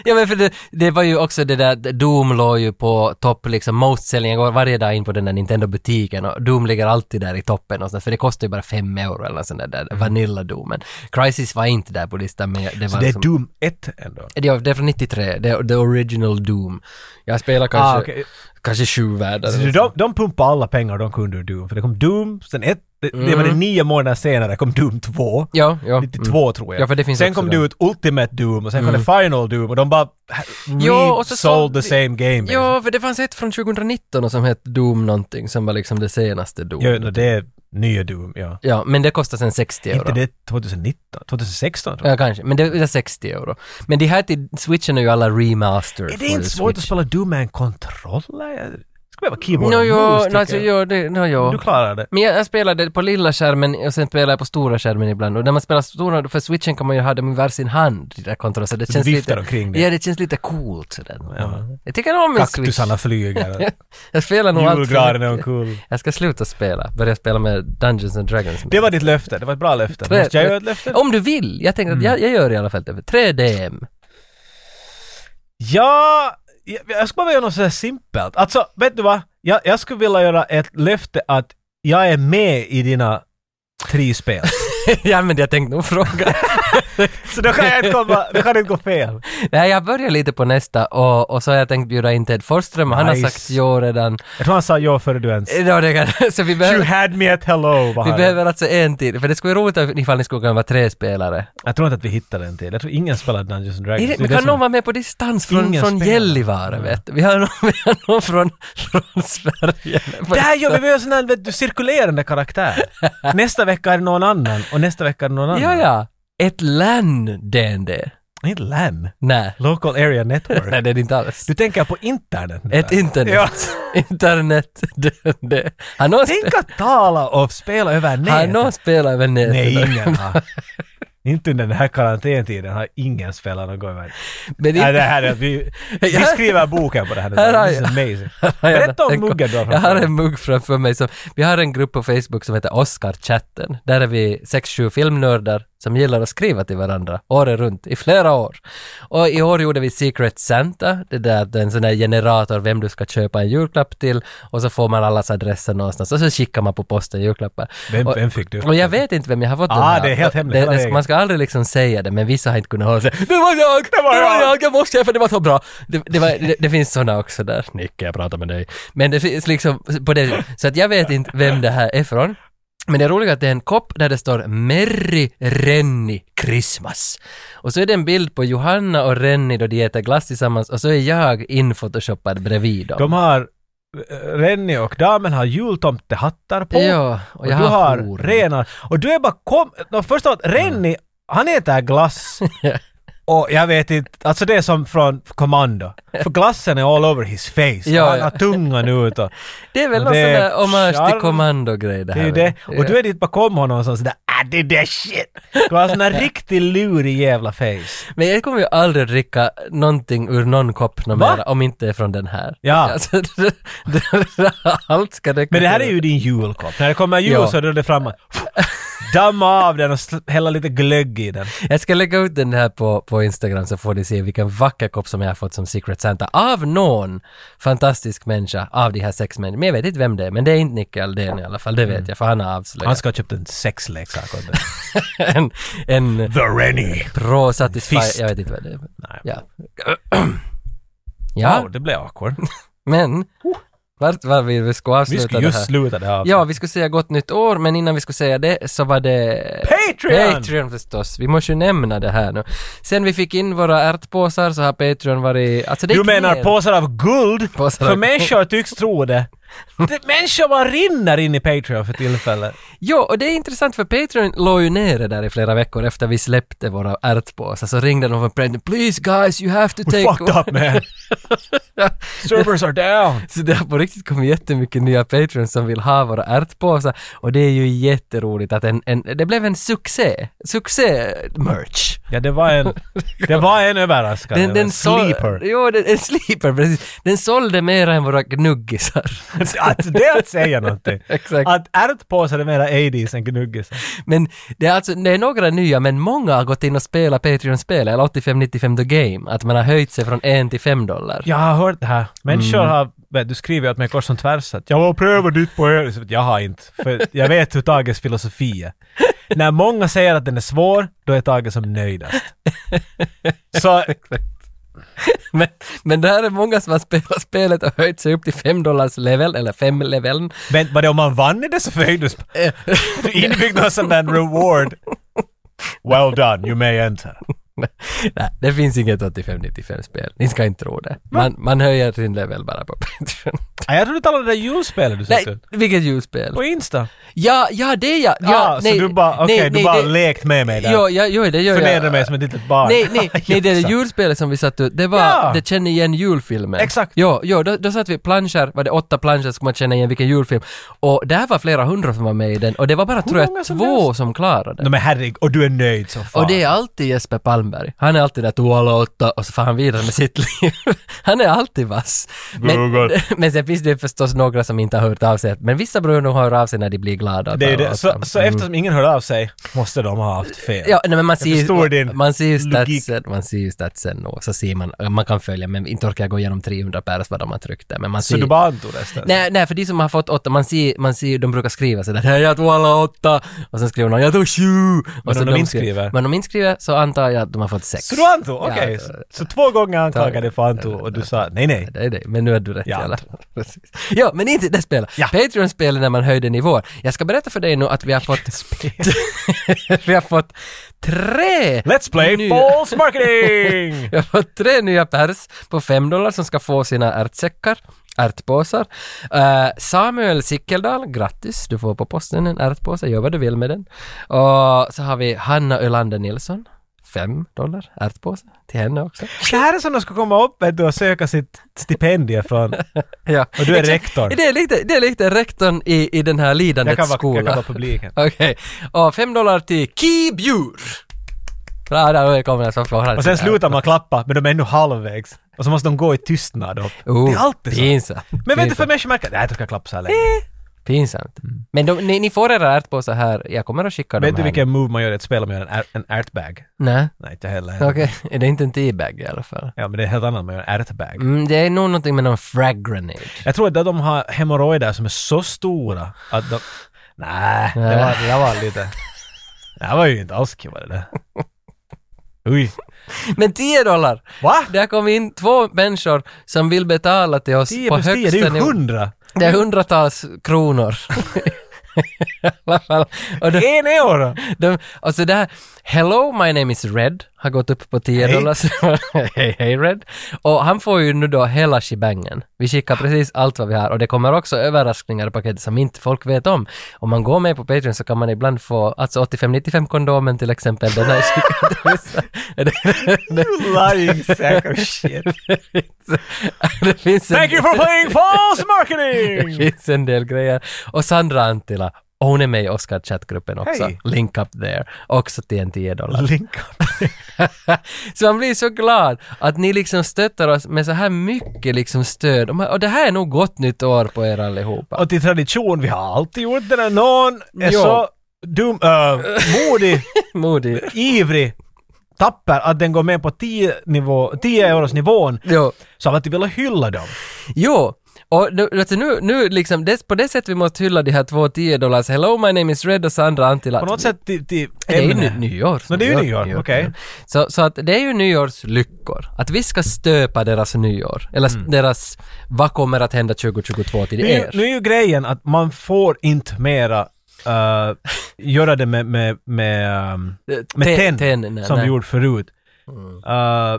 ja, men för det, det var ju också det där, Doom låg ju på topp liksom, most selling. Jag går varje dag in på den där Nintendo-butiken och Doom ligger alltid där i toppen och sånt, för det kostar ju bara fem euro eller sånt där, där Vanilla-Doomen. Crisis var inte där på listan, men jag- det var Mm. Det är liksom, Doom 1 ändå. Ja, det är från 93, det är the original Doom. Jag spelar kanske, Ah, okej. kanske sju världar. Så eller de, de pumpade alla pengar de kunde ur Doom, för det kom Doom, sen ett, det, det var det nio månader senare kom Doom 2. Ja, Mm. ja. mm. 92 tror jag. Ja, för det finns sen också kom det. Mm. det ut Ultimate Doom och sen kom det Final Doom och de bara Ja, och så sold the sålde- same game. Ja, för det fanns ett från 2019 som hette Doom någonting som var liksom det senaste Doom. ja no, det är nya Doom, ja. Ja, men det kostar sen 60 euro. Inte det 2019, 2016 tror jag. Ja, kanske. Men det det är 60 euro. Men de här till switchen är ju alla remastered. för Är det inte svårt Switch. att spela Doom med en kontroller? Jag- Det skulle vara keyboard Nå och mus, jo, tycker no, alltså, jag. jo, det, no, jo. Du klarar det. Men jag, jag spelade på lilla skärmen och sen spelade jag på stora skärmen ibland. Och när man spelar stora, för switchen kan man ju ha dem i varsin hand, de där kontrollerna. Så det Så du känns viftar lite... omkring det. Ja, det känns lite coolt sådär. Jag tycker om min switch. (laughs) Kaktusarna flyger. Jag spelar nog allt. för Julgranen är mycket. cool. Jag ska sluta spela. Börja spela med Dungeons and Dragons. Det var ditt löfte, det var ett bra löfte. Tre- Måste jag göra ett löfte? Om du vill. Jag tänkte att Mm. jag, jag gör i alla fall det. (laughs) 3DM. Ja, jag, jag skulle bara vilja göra något sådär simpelt. Alltså, vet du vad? Jag, jag skulle vilja göra ett löfte att jag är med i dina tre spel. ja, men jag tänkte nog fråga. (laughs) Så då kan jag inte komma, då kan det inte gå fel. Nej, jag börjar lite på nästa och, och så har jag tänkt bjuda in Ted Forsström och han Nice. har sagt ja redan. Jag tror han sa ja före du ens... Ja, det kan, (laughs) så vi Eh, You behöver, had me at hello, var vi han. behöver alltså en till, för det skulle vara roligt ifall ni skulle kunna vara tre spelare. Jag tror inte att vi hittade en till. Jag tror ingen spelade Dungeons and Dragons. Är det, Det är men det kan som- någon vara med på distans från, Ingen från spelare. Gällivare? Vet? du? Vi har någon, (laughs) vi har någon från, från Sverige. Det här gör vi, vi gör sån här vet du, (laughs) cirkulerande karaktär. Nästa vecka är det någon annan och nästa vecka är det någon annan. Ja, ja. Ett LAN D&D. Inte LAN. Nej. Local Area Network. (laughs) Nej, det är det inte alls. Du tänker på internet. nu Ett där. internet. Ja. Internet D&D. Har någon, spe- Tänk att tala och spela över har nätet. någon spelat över nätet? Nej, ingen har. Inte under den här karantäntiden har ingen spelat någon gång. Men Nej, inte- (laughs) det här är att vi, vi skriver boken på det här nu. Här har This is jag- amazing. har jag Berätta om en- muggen du Jag har har framför dig. en mugg framför mig. Som, vi har en grupp på Facebook som heter Oscar-chatten. Där är vi 6-7 filmnördar som gillar att skriva till varandra året runt i flera år. Och i år gjorde vi Secret Santa, det där att en sån där generator vem du ska köpa en julklapp till och så får man allas adresser någonstans och så skickar man på posten julklappar. Vem, och, vem fick du? och jag vet inte vem jag har fått typ. Ah, den här. det är helt hemligt Det- hela det- vägen. Man ska aldrig liksom säga det, men vissa har inte kunnat hålla sig. Det var jag! Det var var jag." jag! Jag måste säga för det var så bra. Det, det, var, det, det finns sådana också där. Nicke, jag pratar med dig. Men det finns liksom på det Så att jag vet inte vem det här är från. Men det är roligt att det är en kopp där det står Merry Renny Christmas. Och så är det en bild på Johanna och Renny då de äter glass tillsammans och så är jag infotoshoppad bredvid dem. De har eh, Rennie och damen har jultomtehattar på. Ja, och jag du har har horn. renar. Och du är bara kom... No, först av allt, Rennie, han (laughs) äter glass. Och jag vet inte, alltså det är som från Commando. För glassen är all over his face. Ja, och han ja. har tungan (laughs) ut och... Det är väl någon Det sån är där hommage till charm. kommando-grej det Det här. är ju väl? det. Och du är dit bakom honom och sån sådär ah det där shit. Du har sån där riktigt lurig jävla face. Men jag kommer ju aldrig dricka någonting ur någon kopp något Va? mer om inte är från den här. Ja. Alltså, det- det- allt ska det Men det här är ju din julkopp. När det kommer jul Ja. så drar det fram och- damma av den och sl- hälla lite glögg i den. Jag ska lägga ut den här på, på Instagram så får ni se vilken vacker kopp som jag har fått som Secret Santa av någon fantastisk människa av de här sex människorna. Men jag vet inte vem det är, men det är inte Nicke Aldén i alla fall, det vet jag för han har Mm. Han avslöjat ska ha köpt en sexleksak åt dig. (laughs) en, en The Rennie. pro satisfy... Fist. Jag vet inte vad det är. Nej. Ja. (clears throat) ja, Wow, det blev awkward. men vart var vi? Vi ska Vi avsluta skulle det just här. sluta det här. Ja, vi skulle säga gott nytt år, men innan vi skulle säga det så var det... Patreon! Patreon förstås. Vi måste ju nämna det här nu. Sen vi fick in våra ärtpåsar så har Patreon varit... Alltså det Du gick menar ner. påsar av guld? Påsar av För guld. människor tycks (laughs) tro det. det. Människor bara rinner in i Patreon (laughs) för tillfället. Jo, och det är intressant för Patreon låg ju nere där i flera veckor efter vi släppte våra ärtpåsar så ringde de från Patreon. “Please guys, you have to We take...” fucked up man. Servers are down. (laughs) Så det har på riktigt kommit jättemycket nya Patreons som vill ha våra ärtpåsar och det är ju jätteroligt att en, en, det blev en succé, succé-merch. Ja, det (laughs) var en, det var en överraskande. Den, den en sål- sleeper. (laughs) Jo, den, en sleeper, precis. Den sålde mer än våra gnuggisar. (laughs) Att det är att säga någonting. Exakt. Att ärtpåsar är mera 80s än gnuggisar. Men det är alltså, det är några nya, men många har gått in och spelat Patreon-spel, eller 85-95 the game, att man har höjt sig från 1 till 5 dollar. Jag har hört det här. Människor har, vet, du skriver ju åt mig kors och tvärs att Mm. jag har prövat ditt på er. Så Jag har inte. För jag vet hur Tages filosofi är. När många säger att den är svår, då är Tage som nöjdast. Så (laughs) Men, men det här är många som har spelat spelet och höjt sig upp till 5 dollars level, eller 5 leveln. Men var det om man vann i det så förhöjdes (laughs) Du inbyggde någon sån där reward. Well done, you may enter. Nej, det finns inget 85-95-spel. Ni ska inte tro det. Man, man höjer sin level bara på (laughs) Patreon. Nej, Ah, jag trodde du talade om det där julspelet du Nej, sökte. vilket julspel? På Insta. Ja, ja det är jag! Ja, Ja, ah, nej, så du bara, okej, nej, du nej, bara det- lekt med mig där. Jo, ja, jo, det gör Förnedrade jag. mig som ett litet barn. Nej, (laughs) nej, nej, det Jaxa. är julspelet som vi satt ut, det var Ja. Det känner igen julfilmen. Exakt. Jo, jo då, då satt vi planscher, var det åtta planscher så skulle man känna igen vilken julfilm. Och där var flera hundra som var med i den och det var bara tror många jag som två som klarade Nej men herregud, och du är nöjd som fan. Och det är alltid Jesper Palmberg. Han är alltid där två alla åtta och så får han vidare med sitt (laughs) liv. Han är alltid vass. Men, Google. (laughs) men sen finns det förstås några som inte har hört av sig. Men vissa bröder hör av sig när de blir glada. och Det är ju talar det. åt Så, dem. så eftersom ingen hör av sig måste de ha haft fel. alltså. Mm. Ja, nej, men man ser, förstår ju, din man ser ju logik. statsen, man ser ju statsen och så ser man, man kan följa men inte orkar jag gå igenom 300 pers vad de har tryckt där. Men man så ser, du bara antog resten? Nej, nej, för de som har fått åtta, man ser, man ser ju- de brukar skriva sådär ”Hej, jag tog alla åtta” och sen skriver någon ”Jag tog sju” och Men så om de inte skriver- skriver? Men om de inte skriver så antar jag att de har fått sex. Så du antog? Okej. Ja, så, så två gånger anklagade jag för antog och du sa nej nej. Det är det, men nu är du rätt Ja. i alla fall. (laughs) Precis. Ja, men inte det spelet. Ja. Patreon spelar när man höjde nivåer. Jag ska berätta för dig nu att vi har (laughs) fått... (laughs) vi har fått tre Let's play nya- false marketing! (laughs) Jag har fått tre nya pers på 5 dollar som ska få sina ärtsäckar, ärtpåsar. Eh, Samuel Sickeldal, grattis, du får på posten en ärtpåse, gör vad du vill med den. Och så har vi Hanna Ölander Nilsson, 5 dollar, ärtpåse till henne också. det här är som de ska komma upp vet du, och söka sitt stipendium från... Ja. Och du är Exakt. rektorn. Det (laughs) är lite, det är lite rektorn i, i den här Jag kan lidandets vara, skola. jag kan (laughs) vara publiken. Okej, och 5 dollar till Kibjur. Bra, där kommer jag som får han Och sen slutar man klappa, men de är ännu halvvägs. Och så måste de gå i tystnad upp. Oh, det är alltid så. pinsamt. Men vet du, Pinsamt. för människor märker nej, jag tror inte jag klappar så här länge. Pinsamt. Men de, ni, ni får era ärtpåsar här, jag kommer att skicka dem Mm. Vet du här. vilken move man gör i ett spel om man gör en, är- en ärtbag? Nej, Nej, inte heller. okej. Är det inte en teabag i alla fall? Ja, men det är helt annat om man gör en ärtbag. Mm, det är nog någonting med någon frag (laughs) grenade. Jag tror att de har hemorrojder som är så stora att de... Nej, det var, det där var lite... Det här var ju inte alls kul det (laughs) där. Oj. Men 10 dollar! Va? Där kom in två människor som vill betala till oss 10 på plus 10, det högsta är ju nivå. (laughs) hundra! Det är hundratals kronor. (laughs) I alla fall. Och de, En euro! de, alltså det här, Hello, my name is Red har gått upp på 10 Hej. dollar. (laughs) hej, hej Red. Och han får ju nu då hela shebangen. Vi skickar precis allt vad vi har och det kommer också överraskningar i paketet som inte folk vet om. Om man går med på Patreon så kan man ibland få, alltså 85-95 kondomen till exempel, den här (laughs) skickad till vissa. Det- Lying sack of (laughs) shit. Det finns en, Thank you for playing false det (laughs) marketing! finns en del grejer. Och Sandra Antila, hon är med i Oscar-chattgruppen också. Hej. Link up there. Också till en 10 dollar. Link up. så man blir så glad att ni liksom stöttar oss med så här mycket liksom stöd. Och man- Och det här är nog gott nytt år på er allihopa. Och till tradition, vi har alltid gjort det när någon är Jo. så dum, äh, (laughs) modig, Modig. ivrig, tapper att den går med på 10 nivå, 10 euros nivån Jo. så har vi alltid velat hylla dem. jo. Och nu, alltså nu, nu liksom, det, på det sättet vi måste hylla de här två 10 dollars Hello my name is Red och Sandra Antila. På något sätt till, till Det är ju ämne. ny- nyår. Men det är ju nyår, okej. Så, så att det är ju nyårslyckor. Att vi ska stöpa deras nyår. Eller Mm. s- deras, vad kommer att hända 2022 till Nu, är ju- er? nu är ju grejen att man får inte mera äh, göra det med, med, med, ähm, med nej, tenn som nej. Mm. vi gjorde förut. Äh,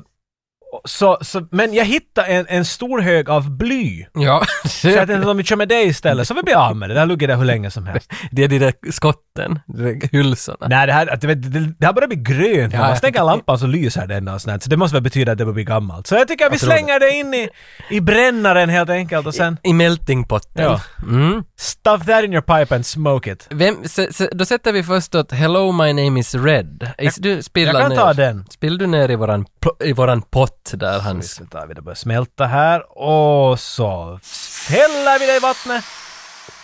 så, så, men jag hittade en, en stor hög av bly. Ja. (laughs) Så jag tänkte att om vi kör med det istället så vi blir av med det. Det här ligger där hur länge som helst. Det är de där skotten, de där hylsorna. (laughs) Nej, det här, att, du vet, det, det här börjar bli grönt. Ja, Om man jag stänger lampan så lyser den och sånt. här. Så det måste väl betyda att det börjar bli gammalt. Så jag tycker att vi tror det. slänger det in i, i brännaren helt enkelt och sen I meltingpotten. Ja. Mm. stuff that in your pipe and smoke it. Vem, s- s- då sätter vi först åt Hello my name is Red. Is, du spillar jag kan ner. ta den. Spill du ner i våran, pl- i våran pott där Hans. Så tar vi det börjar smälta här och så häller vi det i vattnet.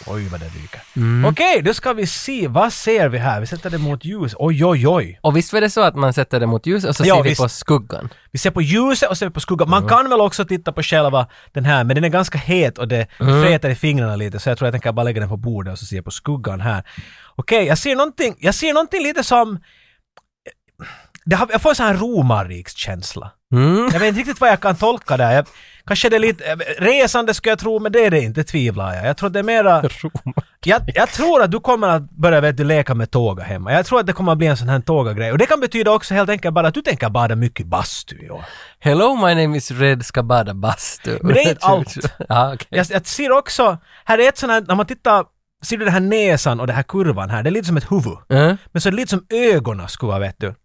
Oj vad det ryker. Mm. Okej, då ska vi se. Vad ser vi här? Vi sätter det mot ljus. Oj, oj, oj. Och visst var det så att man sätter det mot ljus och så Ja, ser vi visst. på skuggan? Vi ser på ljuset och ser på skuggan. Man kan väl också titta på själva den här, men den är ganska het och det fräter i fingrarna lite, så jag tror jag tänker bara lägga den på bordet och så ser jag på skuggan här. Okej, jag ser någonting, jag ser någonting lite som... Det har, jag får en sån här romarrikskänsla. (laughs) Mm. Jag vet inte riktigt vad jag kan tolka där. Jag, kanske det är lite... Resande skulle jag tro, men det är det inte, tvivlar jag. Jag tror det är mera... Jag, jag tror att du kommer att börja vet, du, leka med tåga hemma. Jag tror att det kommer att bli en sån här tåga-grej. Och det kan betyda också helt enkelt bara att du tänker bada mycket bastu i år. Hello my name is Red ska bada bastu. Men det är inte allt. (laughs) ja, okej. Jag, jag ser också, här är ett sånt här, när man tittar, ser du den här näsan och den här kurvan här, det är lite som ett huvud. Mm. Men så är det lite som ögonen skulle vara, vet du,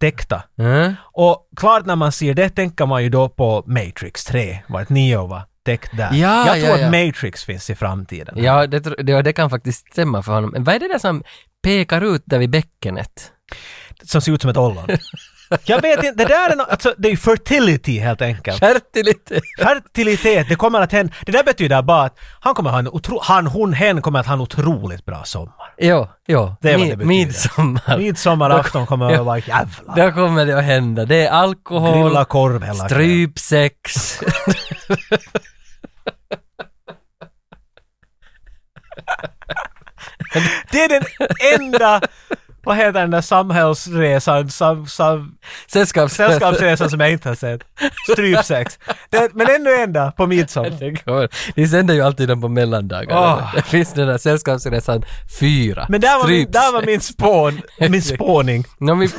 täckta. Mm. Och klart när man ser det tänker man ju då på Matrix 3, vart Neo var täckt där. Ja, jag tror ja, att ja. Matrix finns i framtiden. Ja, det, tro- det, det kan faktiskt stämma för honom. Men vad är det där som pekar ut där vid bäckenet? Som ser ut som ett ollon. jag vet inte, det där är no, alltså, det är ju fertility helt enkelt. Skärpte lite. Fertilitet, det kommer att hända. Det där betyder bara att han kommer att ha en otro, han, hon, hen kommer att ha en otroligt bra sommar. Jo, jo. Det är vad Mi- det betyder. midsommar. Midsommarafton kommer att vara jävla... Då kommer det att hända. Det är alkohol, Grilla korv hela kvällen. (laughs) strypsex. Det är den enda, vad heter den där samhällsresan, sam, sam, Sällskaps... sällskapsresan som jag inte har sett? Strypsex. Det, men ännu enda på midsommar. Det kommer. (laughs) Ni sänder ju alltid dem på mellandagarna. Åh. Det (laughs) finns den där Sällskapsresan 4. Ah. Men där var, min, Strypsex. där var min spån, min spåning. Nå, vi, (laughs)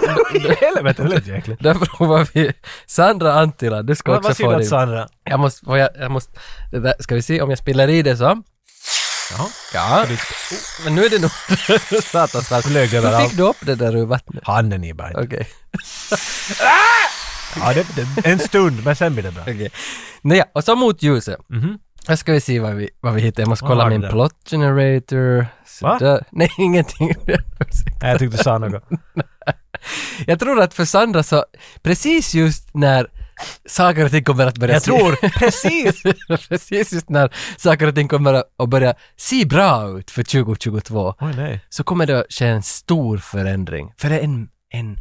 Helvete, det lät jäkligt. där provar vi Sandra Antila. Du ska Vad också få vad synd din. att Sandra... Jag måste, får jag, jag måste, det där, ska vi se om jag spiller i det så? Jaha. Ja. Oh, Men nu är det nog... (laughs) Satans fast. Flög Hur överallt. fick du upp det där ur vattnet? Handen Nyberg. Okej. Ja, det, det, en stund, men sen blir det bra. Okej. Nåja, och så mot ljuset. Här ska vi se vad vi, vad vi hittar. Jag måste Mhm. Vad kolla har du min där? plot generator. Så Va? där. Nej, (laughs) ingenting. Nej, jag tyckte du sa något. Jag tror att för Sandra så, precis just när saker och ting kommer att börja Jag se- tror precis (laughs) precis just när saker och ting kommer att- att börja se bra ut för 2022. Oj nej. så kommer det att ske en stor förändring. För det är en, en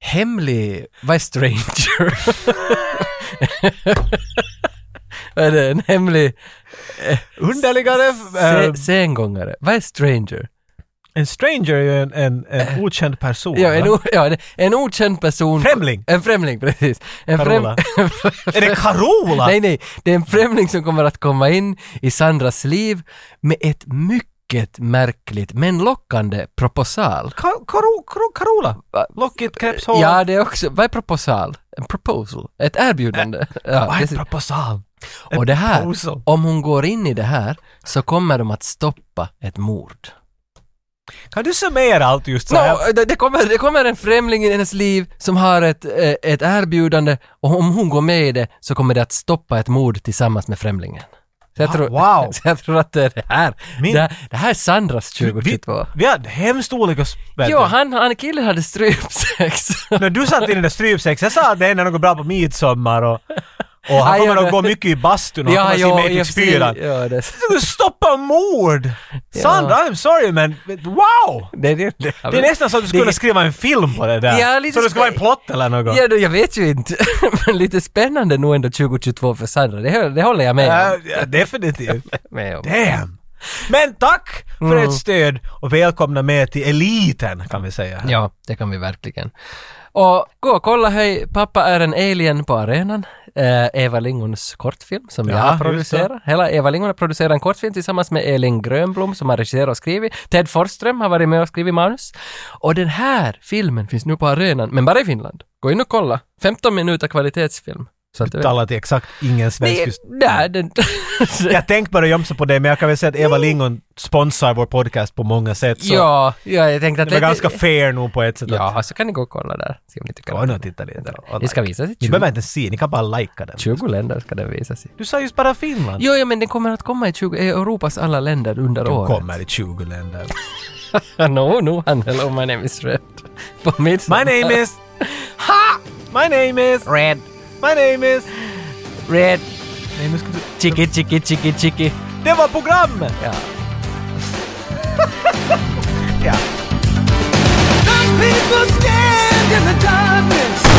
hemlig, vad är stranger? (laughs) vad är det? En hemlig Underligare... se, eh, sengångare. Vad är stranger? en stranger är ju en, en, en okänd person. Ja, en, va? o, ja, en- en okänd person. Främling! En främling, precis. En Carola. (laughs) Är det Carola? nej, nej. Det är en främling som kommer att komma in i Sandras liv med ett mycket mycket märkligt men lockande proposal. Ka- Karo, Karo, Karola? Lockigt Krebshål? Ja, det är också, vad är proposal? En proposal? Ett erbjudande? Ja, Vad är precis. proposal? och det här, proposal? om hon går in i det här så kommer de att stoppa ett mord. Kan du summera allt just så här? No, det, det, kommer, det kommer en främling i hennes liv som har ett, eh, ett erbjudande och om hon går med i det så kommer det att stoppa ett mord tillsammans med främlingen. Så jag, Ah, tror, (laughs) wow. så jag tror att det är det här. Min- Det, här- det här är Sandras vi, 2022. vi hade hemskt olika spänn. Jo, han, han killen hade (laughs) strypsex. När du satt in den där strypsex, jag sa att det är något bra på midsommar och, och Ja, han kommer ja, att gå mycket i bastun och han kommer att se i och Matrix för sig. 4. Ja, det, Du stoppar mord! Sandra, I'm sorry men wow! det, det, det, Det är nästan så att du skulle skriva en film på det där. Ja, lite så det skulle vara en spä- plott eller något. Ja, då, jag vet ju inte. (laughs) Men lite spännande nog ändå 2022 för Sandra. Det, hö- det håller jag med Ja, om. ja, definitivt. Med om. Damn! Men tack för Mm. ert stöd och välkomna med till eliten kan vi säga. Ja, det kan vi verkligen. Och gå och kolla, hej, pappa är en alien på arenan. Eh, Eva Lingons kortfilm som jag Ja, har just det. producerat. Hela Eva Lingon har producerat en kortfilm tillsammans med Elin Grönblom som har regisserat och skrivit. Ted Forsström har varit med och skrivit manus. Och den här filmen finns nu på arenan, men bara i Finland. Gå in och kolla. 15 minuter kvalitetsfilm. Så att du vet. Talar till exakt ingen svensk Nej, just nej, den... Jag tänkte bara gömsa på dig men jag kan väl säga att Eva Lingon sponsrar vår podcast på många sätt. (laughs) Så ja, ja, jag tänkte att det var ganska fair nog på ett sätt. att- Ja, så kan ni gå och kolla där. Se om ni tycker Gå om nu den. och titta lite. och- och Ni ska like. visas i Ni 20, behöver inte se, ni kan bara lajka den. 20 länder ska den visas i. Du sa just bara Finland. Jo, ja, men den kommer att komma i 20, i Europas alla länder under De året. kommer i 20 länder. no, no, han, hello, my name is Red. På mitt My (laughs) name is... Ha! My name is... Red, My name is... Red, Nej, nu ska du... chicky, chicky, chicky, chicky. Det var programmet! Ja. Ja. Some people stand in the darkness.